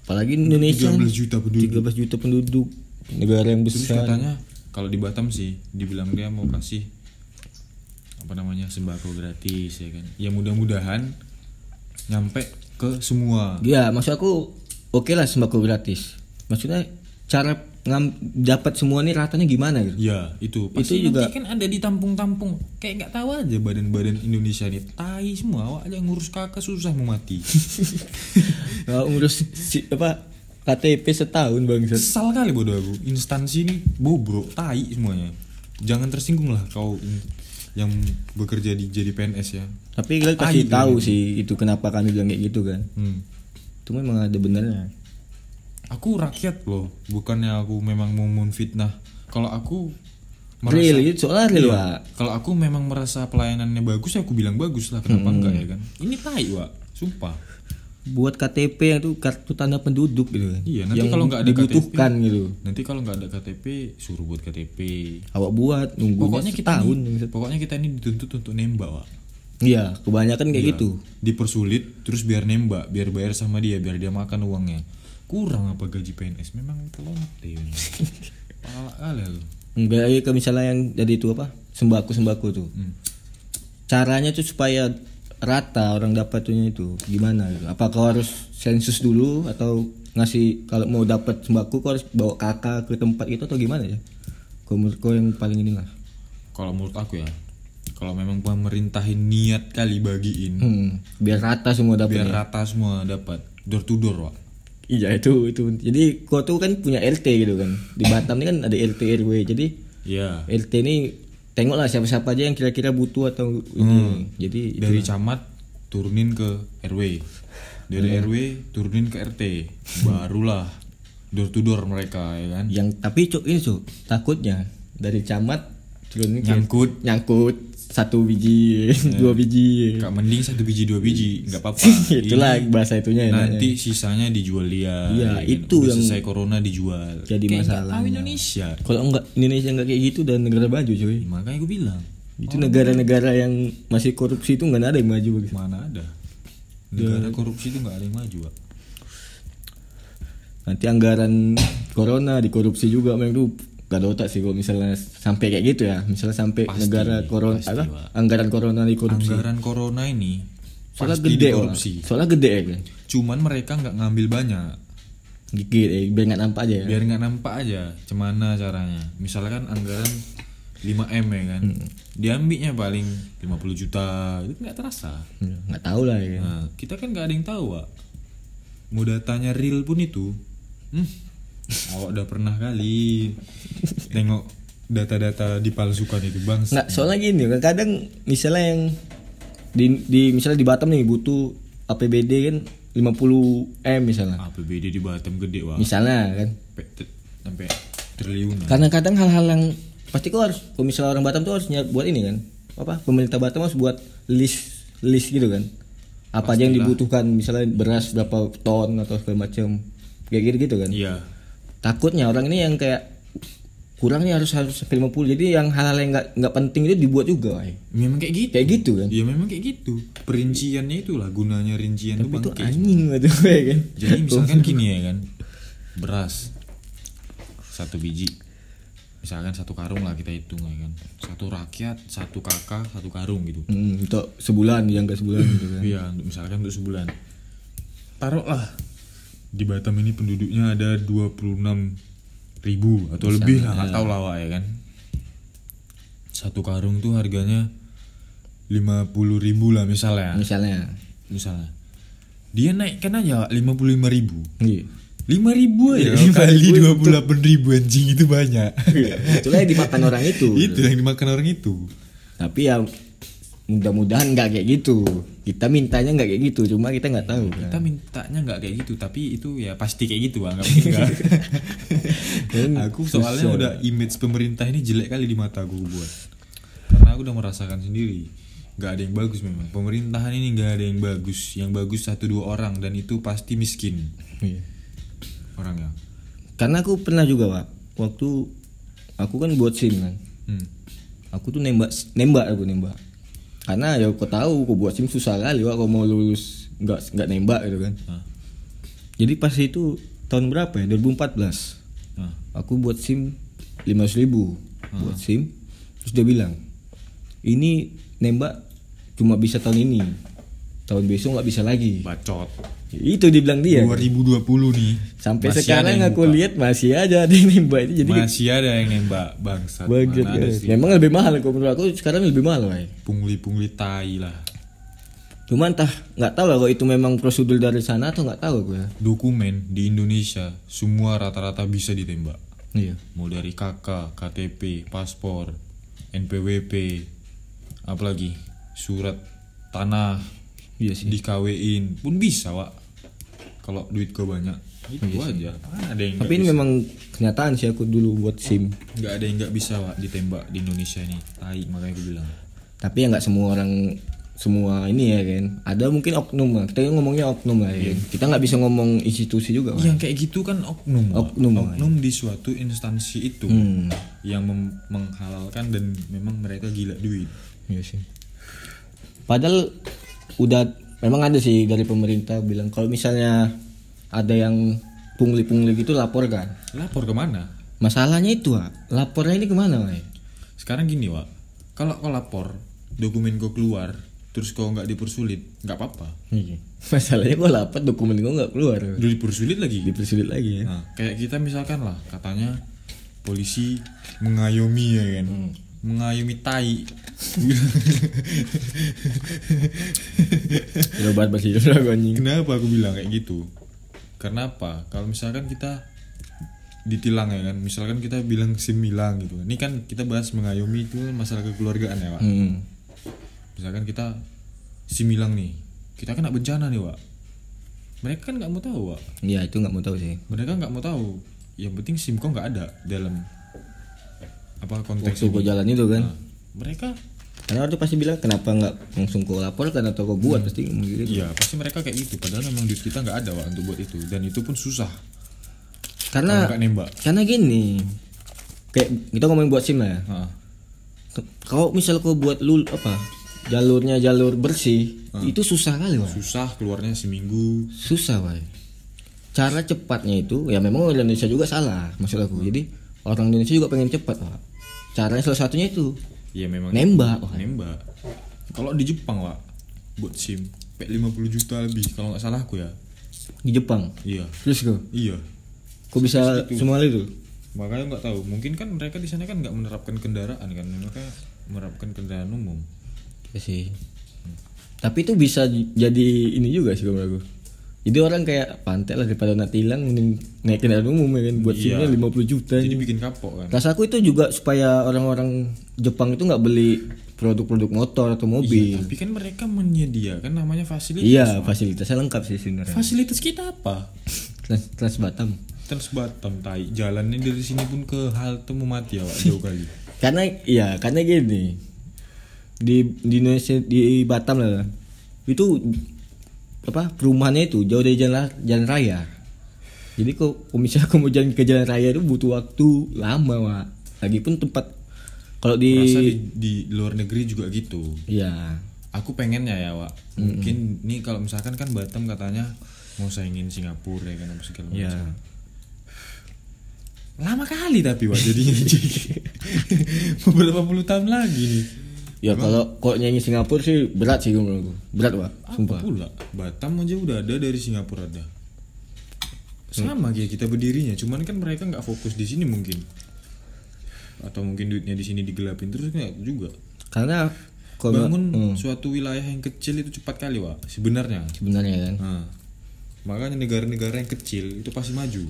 S1: Apalagi Indonesia.
S2: 13 juta penduduk.
S1: 13 juta penduduk. Negara yang
S2: Terus
S1: besar.
S2: katanya kalau di Batam sih dibilang dia mau kasih apa namanya sembako gratis ya kan. Ya mudah-mudahan nyampe ke semua.
S1: Iya, maksud aku oke lah sembako gratis. Maksudnya cara ngam, dapat semua ini ratanya gimana gitu?
S2: Ya itu pasti
S1: Itu juga-
S2: nanti kan ada di tampung-tampung kayak nggak tahu aja badan-badan Indonesia nih tai semua awak aja ngurus kakak susah mau mati
S1: Nah, ngurus si- apa KTP setahun bangsat.
S2: kesal kali bodoh aku instansi ini bobrok tai semuanya jangan tersinggung lah kau in- yang bekerja di jadi PNS ya
S1: Tapi kita kasih
S2: Ah,
S1: tahu
S2: gitu.
S1: sih itu kenapa kami bilang kayak gitu kan.
S2: hmm.
S1: Itu memang ada benernya.
S2: aku rakyat loh bukannya aku memang mau menfitnah kalau aku
S1: Real, itu soalnya real,
S2: Iya.
S1: Wak.
S2: kalau aku memang merasa pelayanannya bagus ya aku bilang bagus lah
S1: Hmm.
S2: kenapa enggak ya kan ini tai wak sumpah
S1: Buat KTP itu kartu tanda penduduk gitu kan.
S2: Iya, nanti
S1: yang
S2: kalau nggak ada
S1: dibutuhkan gitu.
S2: nanti kalau nggak ada KTP suruh buat KTP
S1: Awak buat nunggu
S2: pokoknya kita
S1: setahun.
S2: ini,
S1: bangsat.
S2: pokoknya kita ini dituntut untuk nembak wak
S1: Iya, kebanyakan kayak gitu.
S2: dipersulit terus biar nembak biar bayar sama dia biar dia makan uangnya kurang apa gaji PNS memang telonte
S1: [LAUGHS]
S2: pala ah, kali lu.
S1: Enggak, ya, kayak misalnya yang dari itu apa? Sembako-sembako tuh.
S2: Hmm.
S1: Caranya tuh supaya rata orang dapatnya itu gimana gitu. Apa kau harus sensus dulu atau ngasih kalau mau dapat sembako kau harus bawa kakak ke tempat itu atau gimana ya? Kau menurut kau yang paling inilah.
S2: kalau menurut aku ya kalau memang pemerintahin niat kali bagiin
S1: Hmm, Iya. biar rata semua
S2: biar
S1: dapatnya.
S2: rata semua dapat door to door Wak.
S1: Iya itu itu. Jadi kau tuh kan punya RT gitu kan. Di Batam ini kan ada RT RW. Jadi
S2: Iya.
S1: RT ini tengoklah siapa-siapa aja yang kira-kira butuh atau ini. Hmm. Jadi itu. ya.
S2: dari camat turunin ke RW dari
S1: Iya.
S2: RW turunin ke RT barulah door to door mereka ya kan
S1: yang tapi cuk ini cuk takutnya dari camat turun ke-
S2: Nyangkut.
S1: nyangkut satu biji [LAUGHS]
S2: Hmm.
S1: dua biji [LAUGHS]
S2: Nggak mending satu biji dua biji nggak apa-apa
S1: itulah
S2: Ini
S1: bahasa itunya ya, enaknya.
S2: nanti sisanya dijual dia
S1: Iya,
S2: ya kan.
S1: itu
S2: Udah
S1: yang
S2: selesai corona dijual
S1: jadi
S2: Kayak nggak
S1: masalahnya.
S2: tahu Indonesia
S1: ya. kalau enggak Indonesia enggak kayak gitu dan negara maju cuy
S2: makanya gue bilang
S1: itu
S2: Oh.
S1: negara-negara yang masih korupsi itu enggak ada yang maju bagi
S2: mana ada
S1: Iya.
S2: negara korupsi itu nggak ada yang maju Wak.
S1: nanti anggaran corona dikorupsi juga memang tuh gak ada otak sih kalau misalnya sampai kayak gitu ya misalnya sampai
S2: Pasti,
S1: negara corona
S2: pasti,
S1: apa?
S2: Wak.
S1: anggaran corona dikorupsi
S2: anggaran corona ini
S1: soalnya
S2: pasti
S1: gede orang
S2: dikorupsi
S1: soalnya gede ya kan?
S2: cuman mereka nggak ngambil banyak
S1: gigit eh, biar nggak nampak aja ya
S2: biar nggak nampak aja cemana caranya misalkan anggaran 5M ya kan
S1: Hmm.
S2: diambilnya paling 50 juta itu nggak terasa
S1: Hmm, nggak tahu lah ya kan?
S2: nah, kita kan nggak ada yang tahu Wak. mau datanya real pun itu hmm, [LAUGHS] awak udah pernah kali tengok data-data dipalsukan itu bang
S1: nggak soalnya gini kan kadang misalnya yang di, di misalnya di Batam nih butuh APBD kan 50 m misalnya
S2: APBD di Batam gede Wak.
S1: misalnya kan
S2: sampai, ter- sampai triliunan
S1: karena kadang hal-hal yang pasti kau harus kalau misalnya orang Batam tuh harus nyiap buat ini kan apa pemerintah Batam harus buat list list gitu kan apa aja yang dibutuhkan misalnya beras berapa ton atau segala macam kayak gitu gitu kan
S2: iya
S1: takutnya orang ini yang kayak kurangnya harus harus sampai 50 jadi yang hal-hal yang nggak nggak penting itu dibuat juga woy.
S2: memang kayak gitu
S1: kayak gitu kan
S2: ya memang kayak gitu perinciannya itulah gunanya rincian itu
S1: itu
S2: bangke
S1: anjing gitu ya kan
S2: Jadi misalkan gini ya kan, beras satu biji, misalkan satu karung lah kita hitung ya kan, satu rakyat, satu kakak, satu karung gitu.
S1: Hmm, untuk sebulan yang ke sebulan gitu kan
S2: Iya, untuk misalkan untuk sebulan. Taruhlah di Batam ini penduduknya ada 26 ribu atau lebih lah, nggak tahu lah Wak, ya kan. Satu karung tuh harganya 50 ribu lah
S1: Iya.
S2: misalnya,
S1: misalnya
S2: misalnya. Dia naikkan aja 55 ribu.
S1: iya
S2: lima ribu aja
S1: Iya,
S2: kali
S1: ribu
S2: dua puluh delapan ribu anjing itu banyak
S1: Iya. itulah yang dimakan orang itu
S2: itu yang dimakan orang itu
S1: tapi ya mudah-mudahan nggak kayak gitu kita mintanya nggak kayak gitu cuma kita nggak tahu kan
S2: [LAUGHS] kita mintanya nggak kayak gitu tapi itu ya pasti kayak gitu bang nggak mungkin nggak. aku soalnya
S1: Kan Susah.
S2: udah image pemerintah ini jelek kali di mata aku buat karena aku udah merasakan sendiri nggak ada yang bagus memang pemerintahan ini nggak ada yang bagus yang bagus satu dua orang dan itu pasti miskin
S1: Iya.
S2: orangnya
S1: Karena aku pernah juga, Pak. Waktu aku kan buat SIM kan.
S2: hmm.
S1: Aku tuh nembak nembak aku nembak. Karena ya aku tahu aku buat SIM susah kali, Pak. Kalau mau lulus nggak nggak nembak gitu kan.
S2: Nah,
S1: Jadi pas itu tahun berapa ya? 2014.
S2: nah.
S1: Aku buat SIM 500 ribu
S2: Ah.
S1: buat SIM. Terus dia bilang, ini nembak cuma bisa tahun ini. Tahun besok nggak bisa lagi.
S2: bacot
S1: Itu dibilang dia.
S2: Iya. 2020 nih
S1: Sampai
S2: Masih
S1: sekarang
S2: ada yang
S1: aku
S2: buka.
S1: lihat masih aja ada yang nembak itu. Jadi
S2: masih ada yang nembak bangsat
S1: Baget
S2: Mana ada
S1: guys.
S2: sih.
S1: Memang lebih mahal kalau menurut aku sekarang lebih mahal Wai.
S2: pungli-pungli tai lah
S1: Cuma entah nggak tahu lah kalau itu memang prosedur dari sana atau nggak tahu aku ya.
S2: dokumen di Indonesia semua rata-rata bisa ditembak
S1: Iya.
S2: mau dari KK, KTP, paspor, NPWP, apalagi surat tanah
S1: Iya sih.
S2: dikawin pun bisa wak kalau duit kau banyak itu aja Mana ada yang
S1: Tapi ini memang kenyataan sih aku dulu buat SIM.
S2: nggak ada yang nggak bisa wak ditembak di Indonesia ini tai makanya aku bilang
S1: Tapi ya nggak semua orang semua ini ya kan. Ada mungkin oknum lah. Kita ngomongnya oknum lah ya. kan. Kita nggak bisa ngomong institusi juga. Wai.
S2: yang kayak gitu kan oknum Wak.
S1: Oknum, Wak.
S2: oknum di suatu instansi itu
S1: Hmm.
S2: yang mem- menghalalkan dan memang mereka gila duit
S1: Iya sih. Padahal udah memang ada sih dari pemerintah bilang kalau misalnya ada yang pungli-pungli gitu laporkan.
S2: lapor kemana
S1: Masalahnya itu, Wak. lapornya ini kemana, Wak?
S2: sekarang gini Wak kalau kau lapor dokumen kau keluar terus kau nggak dipersulit nggak apa-apa
S1: Iya Masalahnya gue lapor dokumen gue nggak keluar.
S2: udah dipersulit lagi
S1: Dipersulit lagi ya.
S2: nah, kayak kita misalkan lah katanya polisi mengayomi ya kan mengayomi tai
S1: Udah banget masih udah gue anjing.
S2: kenapa aku bilang kayak gitu karena apa kalau misalkan kita ditilang ya kan misalkan kita bilang similang gitu ini kan kita bahas mengayomi itu kan masalah kekeluargaan ya Wak
S1: Hmm.
S2: misalkan kita similang nih kita kena bencana nih Wak mereka kan nggak mau tahu Wak
S1: Ya itu nggak mau tahu sih.
S2: mereka nggak mau tahu yang penting SIM kau nggak ada dalam apa konteks
S1: Waktu gue
S2: ini.
S1: jalan itu kan.
S2: Nah, mereka
S1: Karena waktu pasti bilang kenapa nggak langsung gue laporkan atau gue buat pasti ngomong gitu.
S2: iya pasti mereka kayak gitu padahal memang duit kita nggak ada Wak untuk buat itu dan itu pun susah
S1: Karena
S2: kalau nggak nembak
S1: karena gini. Kayak kita ngomongin buat SIM lah ya.
S2: Heeh.
S1: Kalau misal gue buat lu apa jalurnya jalur bersih
S2: Hmm.
S1: itu susah kali, Wak.
S2: susah keluarnya seminggu
S1: susah Pak. cara cepatnya itu ya memang orang Indonesia juga salah maksud
S2: Hmm.
S1: aku jadi orang Indonesia juga pengen cepat Pak. caranya salah satunya itu
S2: ya memang
S1: Nembak, Wak.
S2: nembak kalau di Jepang Wak buat SIM kayak 50 juta lebih kalau nggak salah aku ya
S1: di Jepang
S2: iya
S1: terus kok
S2: iya
S1: kok bisa
S2: gitu.
S1: semua itu
S2: makanya nggak tahu mungkin kan mereka di sana kan nggak menerapkan kendaraan kan mereka menerapkan kendaraan umum
S1: ya sih tapi itu bisa j- jadi ini juga sih kalau aku jadi orang kayak pantai lah daripada nanti hilang mending naik kendaraan umum ya kan buat
S2: Iya.
S1: simnya 50 juta
S2: jadi bikin kapok kan
S1: rasa aku itu juga supaya orang-orang Jepang itu nggak beli produk-produk motor atau mobil
S2: tapi kan mereka menyediakan namanya fasilitas
S1: iya, fasilitasnya lengkap sih sebenarnya
S2: fasilitas kita apa
S1: Trans, Trans Batam.
S2: terus Batam tai jalannya dari sini pun ke halte mau mati ya Wak, jauh kali
S1: Karena iya, karena gini. Di di Indonesia di Batam lah. Itu apa? Perumahannya itu jauh dari jalan jalan raya. Jadi kok kok misalnya aku mau jalan ke jalan raya itu butuh waktu lama, Wak. Lagipun tempat kalau di
S2: Rasa di, di luar negeri juga gitu
S1: iya,
S2: aku pengennya ya Wak mungkin nih kalau misalkan kan Batam katanya mau saingin Singapura ya kan apa segala macam
S1: Iya.
S2: lama kali tapi Wak jadinya
S1: [LAUGHS]
S2: beberapa puluh tahun lagi nih
S1: Ya kalau kalau nyanyi Singapura sih berat sih menurut aku. Berat, Wak.
S2: apa
S1: Sumpah.
S2: pula Batam aja udah ada dari Singapura ada
S1: Hmm.
S2: sama kayak kita berdirinya cuman kan mereka nggak fokus di sini mungkin atau mungkin duitnya di sini digelapin terus nggak juga
S1: Karena kalau
S2: bangun
S1: Hmm,
S2: suatu wilayah yang kecil itu cepat kali Wak sebenarnya
S1: sebenarnya kan
S2: Nah, makanya negara-negara yang kecil itu pasti maju.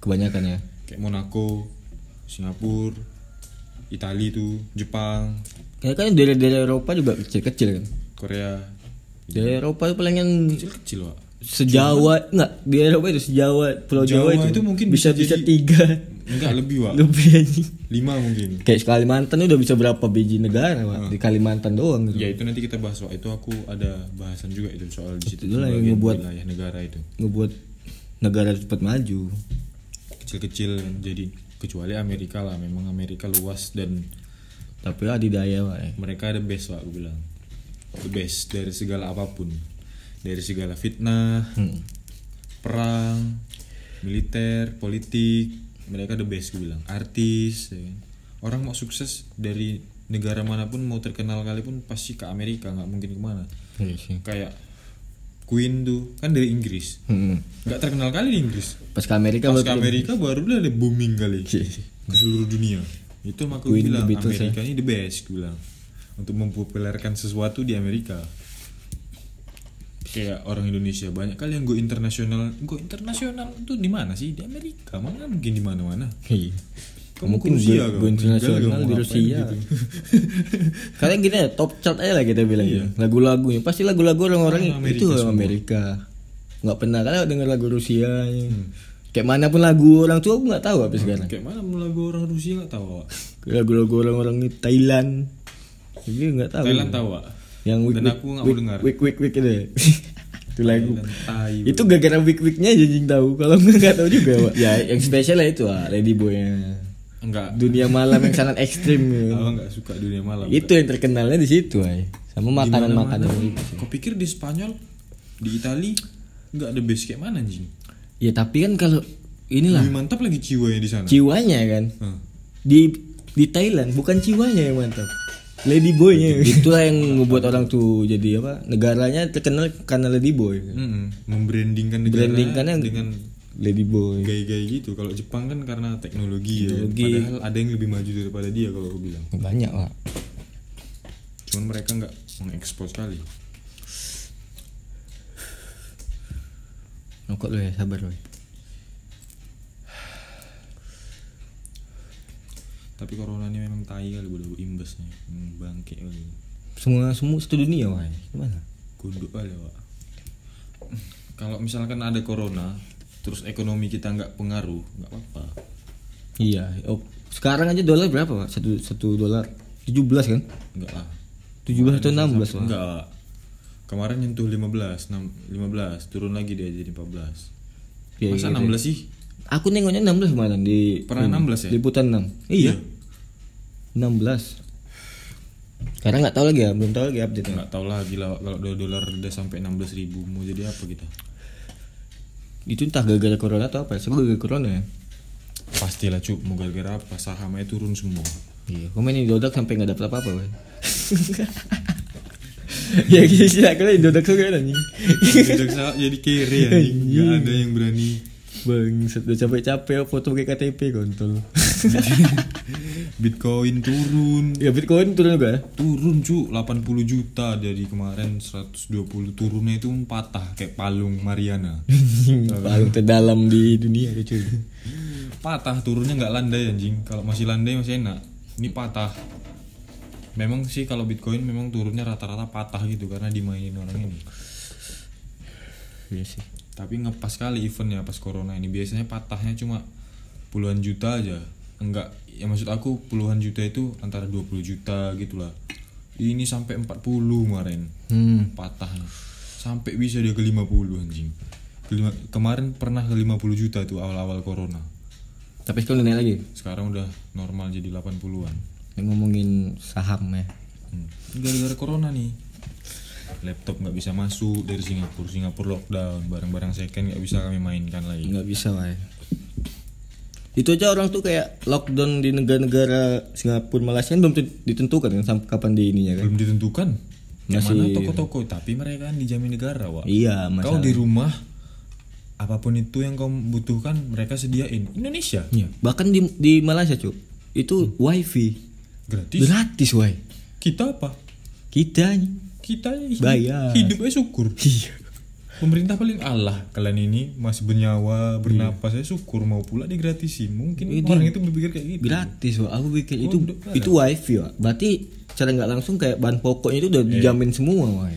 S1: kebanyakan ya.
S2: Kayak Monaco, Singapura, Italia itu, Jepang,
S1: Ya kan dari dari Eropa juga kecil-kecil kan.
S2: Korea.
S1: Dari Eropa itu palingan
S2: Kecil-kecil, Wak.
S1: sejawa nggak di Eropa itu sejawa Pulau Jawa,
S2: Jawa itu mungkin
S1: bisa bisa
S2: bisa jadi-
S1: tiga [LAUGHS]
S2: Enggak lebih Wak
S1: lebih aja.
S2: Lima mungkin
S1: Kayak Kalimantan udah bisa berapa biji negara Wak? di Kalimantan doang gitu.
S2: Ah. Ya itu nanti kita bahas Wak Itu aku ada bahasan juga itu soal di situ
S1: Itu lah yang
S2: sebagian
S1: ngebuat-
S2: wilayah negara itu
S1: Ngebuat negara cepat maju.
S2: Kecil-kecil jadi Kecuali Amerika lah Memang Amerika luas dan
S1: Tapi adidaya Wak. ya.
S2: mereka the best Wak aku bilang The best dari segala apapun Dari segala fitnah Perang Militer Politik Mereka the best aku bilang Artis ya kan. Orang mau sukses dari negara manapun Mau terkenal kali pun pasti ke Amerika nggak mungkin kemana kayak Queen tuh kan dari Inggris
S1: Hmm.
S2: nggak terkenal kali di Inggris
S1: Pas ke Amerika
S2: pas
S1: baru
S2: ke Amerika baru dia ada booming kali ke seluruh dunia itu maka
S1: Iya,
S2: gue
S1: Queen,
S2: bilang
S1: The Beatles,
S2: Amerika ini the best gue bilang untuk mempopulerkan sesuatu di Amerika kayak orang Indonesia banyak kali yang go internasional go internasional itu di mana sih di Amerika mana mungkin di mana mana
S1: Iya.
S2: Kamu
S1: Mungkin
S2: ke Rusia
S1: gue-
S2: kau?
S1: gue internasional di
S2: Meninggal kau, ngapain gitu.
S1: Rusia. [LAUGHS] Kalian gini ya, top chart aja lah kita bilang
S2: Iya.
S1: ya. Lagu-lagunya pasti lagu-lagu orang-orang
S2: Orang Amerika
S1: itu orang
S2: semua.
S1: Amerika. Nggak pernah kalian denger lagu Rusia. ya.
S2: Hmm.
S1: Kayak mana pun lagu orang tua aku nggak tahu apa sekarang.
S2: kayak mana lagu orang Rusia nggak tahu Wak.
S1: Lagu-lagu orang-orang Thailand. Jadi nggak tahu.
S2: Thailand tahu Wak.
S1: Yang week
S2: Dan
S1: week,
S2: aku nggak mau
S1: week,
S2: dengar.
S1: week week week itu. [LAUGHS] itu lagu.
S2: Thailand, Thai,
S1: Itu gara-gara week weeknya jadi tahu. Kalau nggak nggak tahu juga. Wak.
S2: [LAUGHS]
S1: ya yang spesial lah itu ah, Lady Boy-nya.
S2: enggak
S1: dunia malam yang sangat
S2: [LAUGHS]
S1: ekstrim gitu.
S2: Abang nggak suka dunia malam.
S1: itu yang terkenalnya di situ ay sama makanan makanan
S2: Dimana-mana. Kau pikir di Spanyol, di Itali nggak ada base kayak mana anjing?
S1: ya tapi kan kalau inilah
S2: Lebih mantap lagi jiwanya di sana.
S1: jiwanya kan
S2: Hah.
S1: di di Thailand bukan jiwanya yang mantap lady boynya itulah yang membuat orang tuh jadi apa negaranya terkenal karena lady boy
S2: Mm-mm. Membrandingkan negara
S1: Brandingkannya
S2: dengan
S1: lady boy
S2: gaya-gaya gitu. Kalau Jepang kan karena teknologi,
S1: Teknologi.
S2: ya. Padahal ada yang lebih maju daripada dia kalau aku bilang.
S1: banyak lah
S2: Cuman mereka nggak mengekspos kali.
S1: nongkok lo ya sabar lo
S2: Tapi corona ini memang tai kali bodoh imbasnya. Hmm, bangke kali.
S1: semua semua satu dunia wah gimana
S2: Gunduk kali, Wak. Kalau misalkan ada corona, terus ekonomi kita nggak pengaruh, nggak apa-apa.
S1: iya oh, sekarang aja dolar berapa pak satu satu dolar 17 kan
S2: Enggak lah.
S1: 17 atau 16 pak
S2: Enggak. Wak. Kemarin nyentuh 15, enam- 15, turun lagi dia jadi 14.
S1: Iya,
S2: Masa
S1: iya,
S2: 16 sih?
S1: Aku nengoknya 16 kemarin di
S2: Pernah 16 ya?
S1: Liputan 6. Iya. 16. Sekarang nggak tahu lagi ya, belum tahu lagi update.
S2: Enggak tau lah gila Wak. kalau do- dolar udah sampai 16 ribu mau jadi apa kita?
S1: Itu entah gara-gara corona atau apa? Semoga gara-gara corona ya.
S2: Pastilah cuk, mau gara-gara apa sahamnya turun
S1: [LAUGHS]
S2: semua.
S1: Iya, komen ini dodak sampai nggak dapat apa-apa, Bang. [LAUGHS] ya gitu sih, aku lagi dodak juga kan anjing.
S2: Jejak saham jadi kere
S1: Iya.
S2: ya. Enggak ada yang berani.
S1: Bang, udah capek-capek oh, foto pakai KTP kontol. [LAUGHS]
S2: Bitcoin turun.
S1: ya Bitcoin turun juga ya?
S2: Turun cu 80 juta dari kemarin 120 turunnya itu patah kayak palung Mariana.
S1: Paling terdalam di dunia ya, cuy.
S2: patah turunnya nggak landai anjing kalau masih landai masih enak ini patah memang sih kalau bitcoin memang turunnya rata-rata patah gitu karena dimainin orang ini
S1: Iya sih.
S2: tapi ngepas kali eventnya pas corona ini biasanya patahnya cuma puluhan juta aja enggak ya maksud aku puluhan juta itu antara 20 juta gitulah ini sampai 40 kemarin
S1: Hmm.
S2: patahnya sampai bisa dia ke 50 anjing Kelima- kemarin pernah ke 50 juta tuh awal-awal corona
S1: Tapi sekarang udah naik lagi.
S2: sekarang udah normal jadi 80-an
S1: Ini ngomongin saham ya.
S2: Hmm. gara-gara corona nih laptop nggak bisa masuk dari Singapura Singapura lockdown barang-barang second nggak bisa kami mainkan lagi
S1: nggak bisa lah ya. itu aja orang tuh kayak lockdown di negara-negara Singapura Malaysia kan belum tent- ditentukan kan sampai kapan di ininya kan
S2: belum ditentukan yang
S1: Masih-
S2: mana toko-toko tapi mereka kan dijamin negara wak
S1: iya masalah
S2: kau di rumah apapun itu yang kau butuhkan mereka sediain Indonesia
S1: Iya. bahkan di di Malaysia cuy itu wifi
S2: gratis
S1: Hmm. gratis wai
S2: kita apa
S1: kita nih.
S2: kita hi-
S1: Bayar. Iya.
S2: hidup aja syukur pemerintah paling Allah kalian ini masih
S1: Iya.
S2: bernyawa bernapas saya syukur mau pula digratisin mungkin
S1: Ini
S2: orang itu berpikir kayak gitu
S1: gratis wah aku pikir itu
S2: udah.
S1: Iya. itu wifi wah berarti secara nggak langsung kayak bahan pokoknya itu udah dijamin semua wah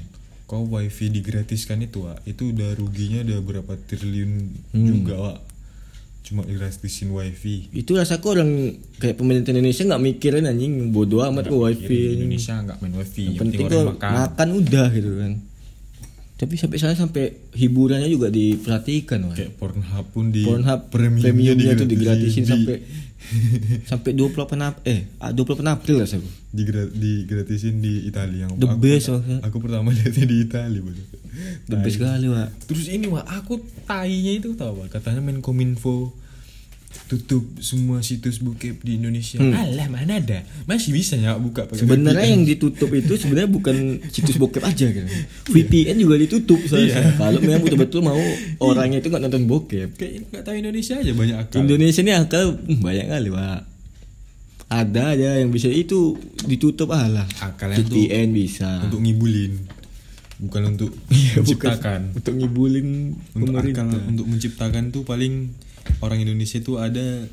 S2: kau wifi digratiskan itu Wak, itu udah ruginya udah berapa triliun
S1: Hmm.
S2: juga Wak. cuma digratisin wifi
S1: Itu rasaku orang kayak pemerintah Indonesia nggak mikirin anjing bodoh amat kok
S2: Kira
S1: wifi.
S2: Indonesia nggak main wifi
S1: Yang penting
S2: Iya, orang
S1: tuh makan. udah gitu kan. Tapi sampai sana sampai hiburannya juga diperhatikan Wak.
S2: kayak Pornhub pun di
S1: Pornhub
S2: premiumnya
S1: premiumnya tuh
S2: digratisin,
S1: digratisin
S2: di-
S1: sampai sampai 28 Ap- eh ah, 28 April lah saya.
S2: digra- digratisin di Italia yang
S1: The best, maksudnya.
S2: aku pertama [LAUGHS] lihatnya di Italia Bang.
S1: The best sekali, Wak.
S2: terus ini wah aku tainya itu tau Wak, katanya Menkominfo tutup semua situs bokep di Indonesia alah mana ada masih bisa ya buka
S1: Hmm.
S2: pakai
S1: Sebenarnya yang ditutup itu sebenarnya bukan situs bokep aja kan. VPN juga ditutup soalnya.
S2: Iya.
S1: Kalau memang betul-betul mau orangnya itu nggak nonton bokep.
S2: kayak nggak tahu Indonesia aja banyak akal
S1: Indonesia ini akal hmm, banyak kali, Pak. Ada aja yang bisa itu ditutup alah.
S2: Akalnya tuh
S1: VPN bisa.
S2: untuk ngibulin bukan untuk
S1: [LAUGHS] Iya, bukan.
S2: menciptakan
S1: Untuk ngibulin
S2: untuk
S1: pemerintah.
S2: akal untuk menciptakan tuh paling orang Indonesia tuh ada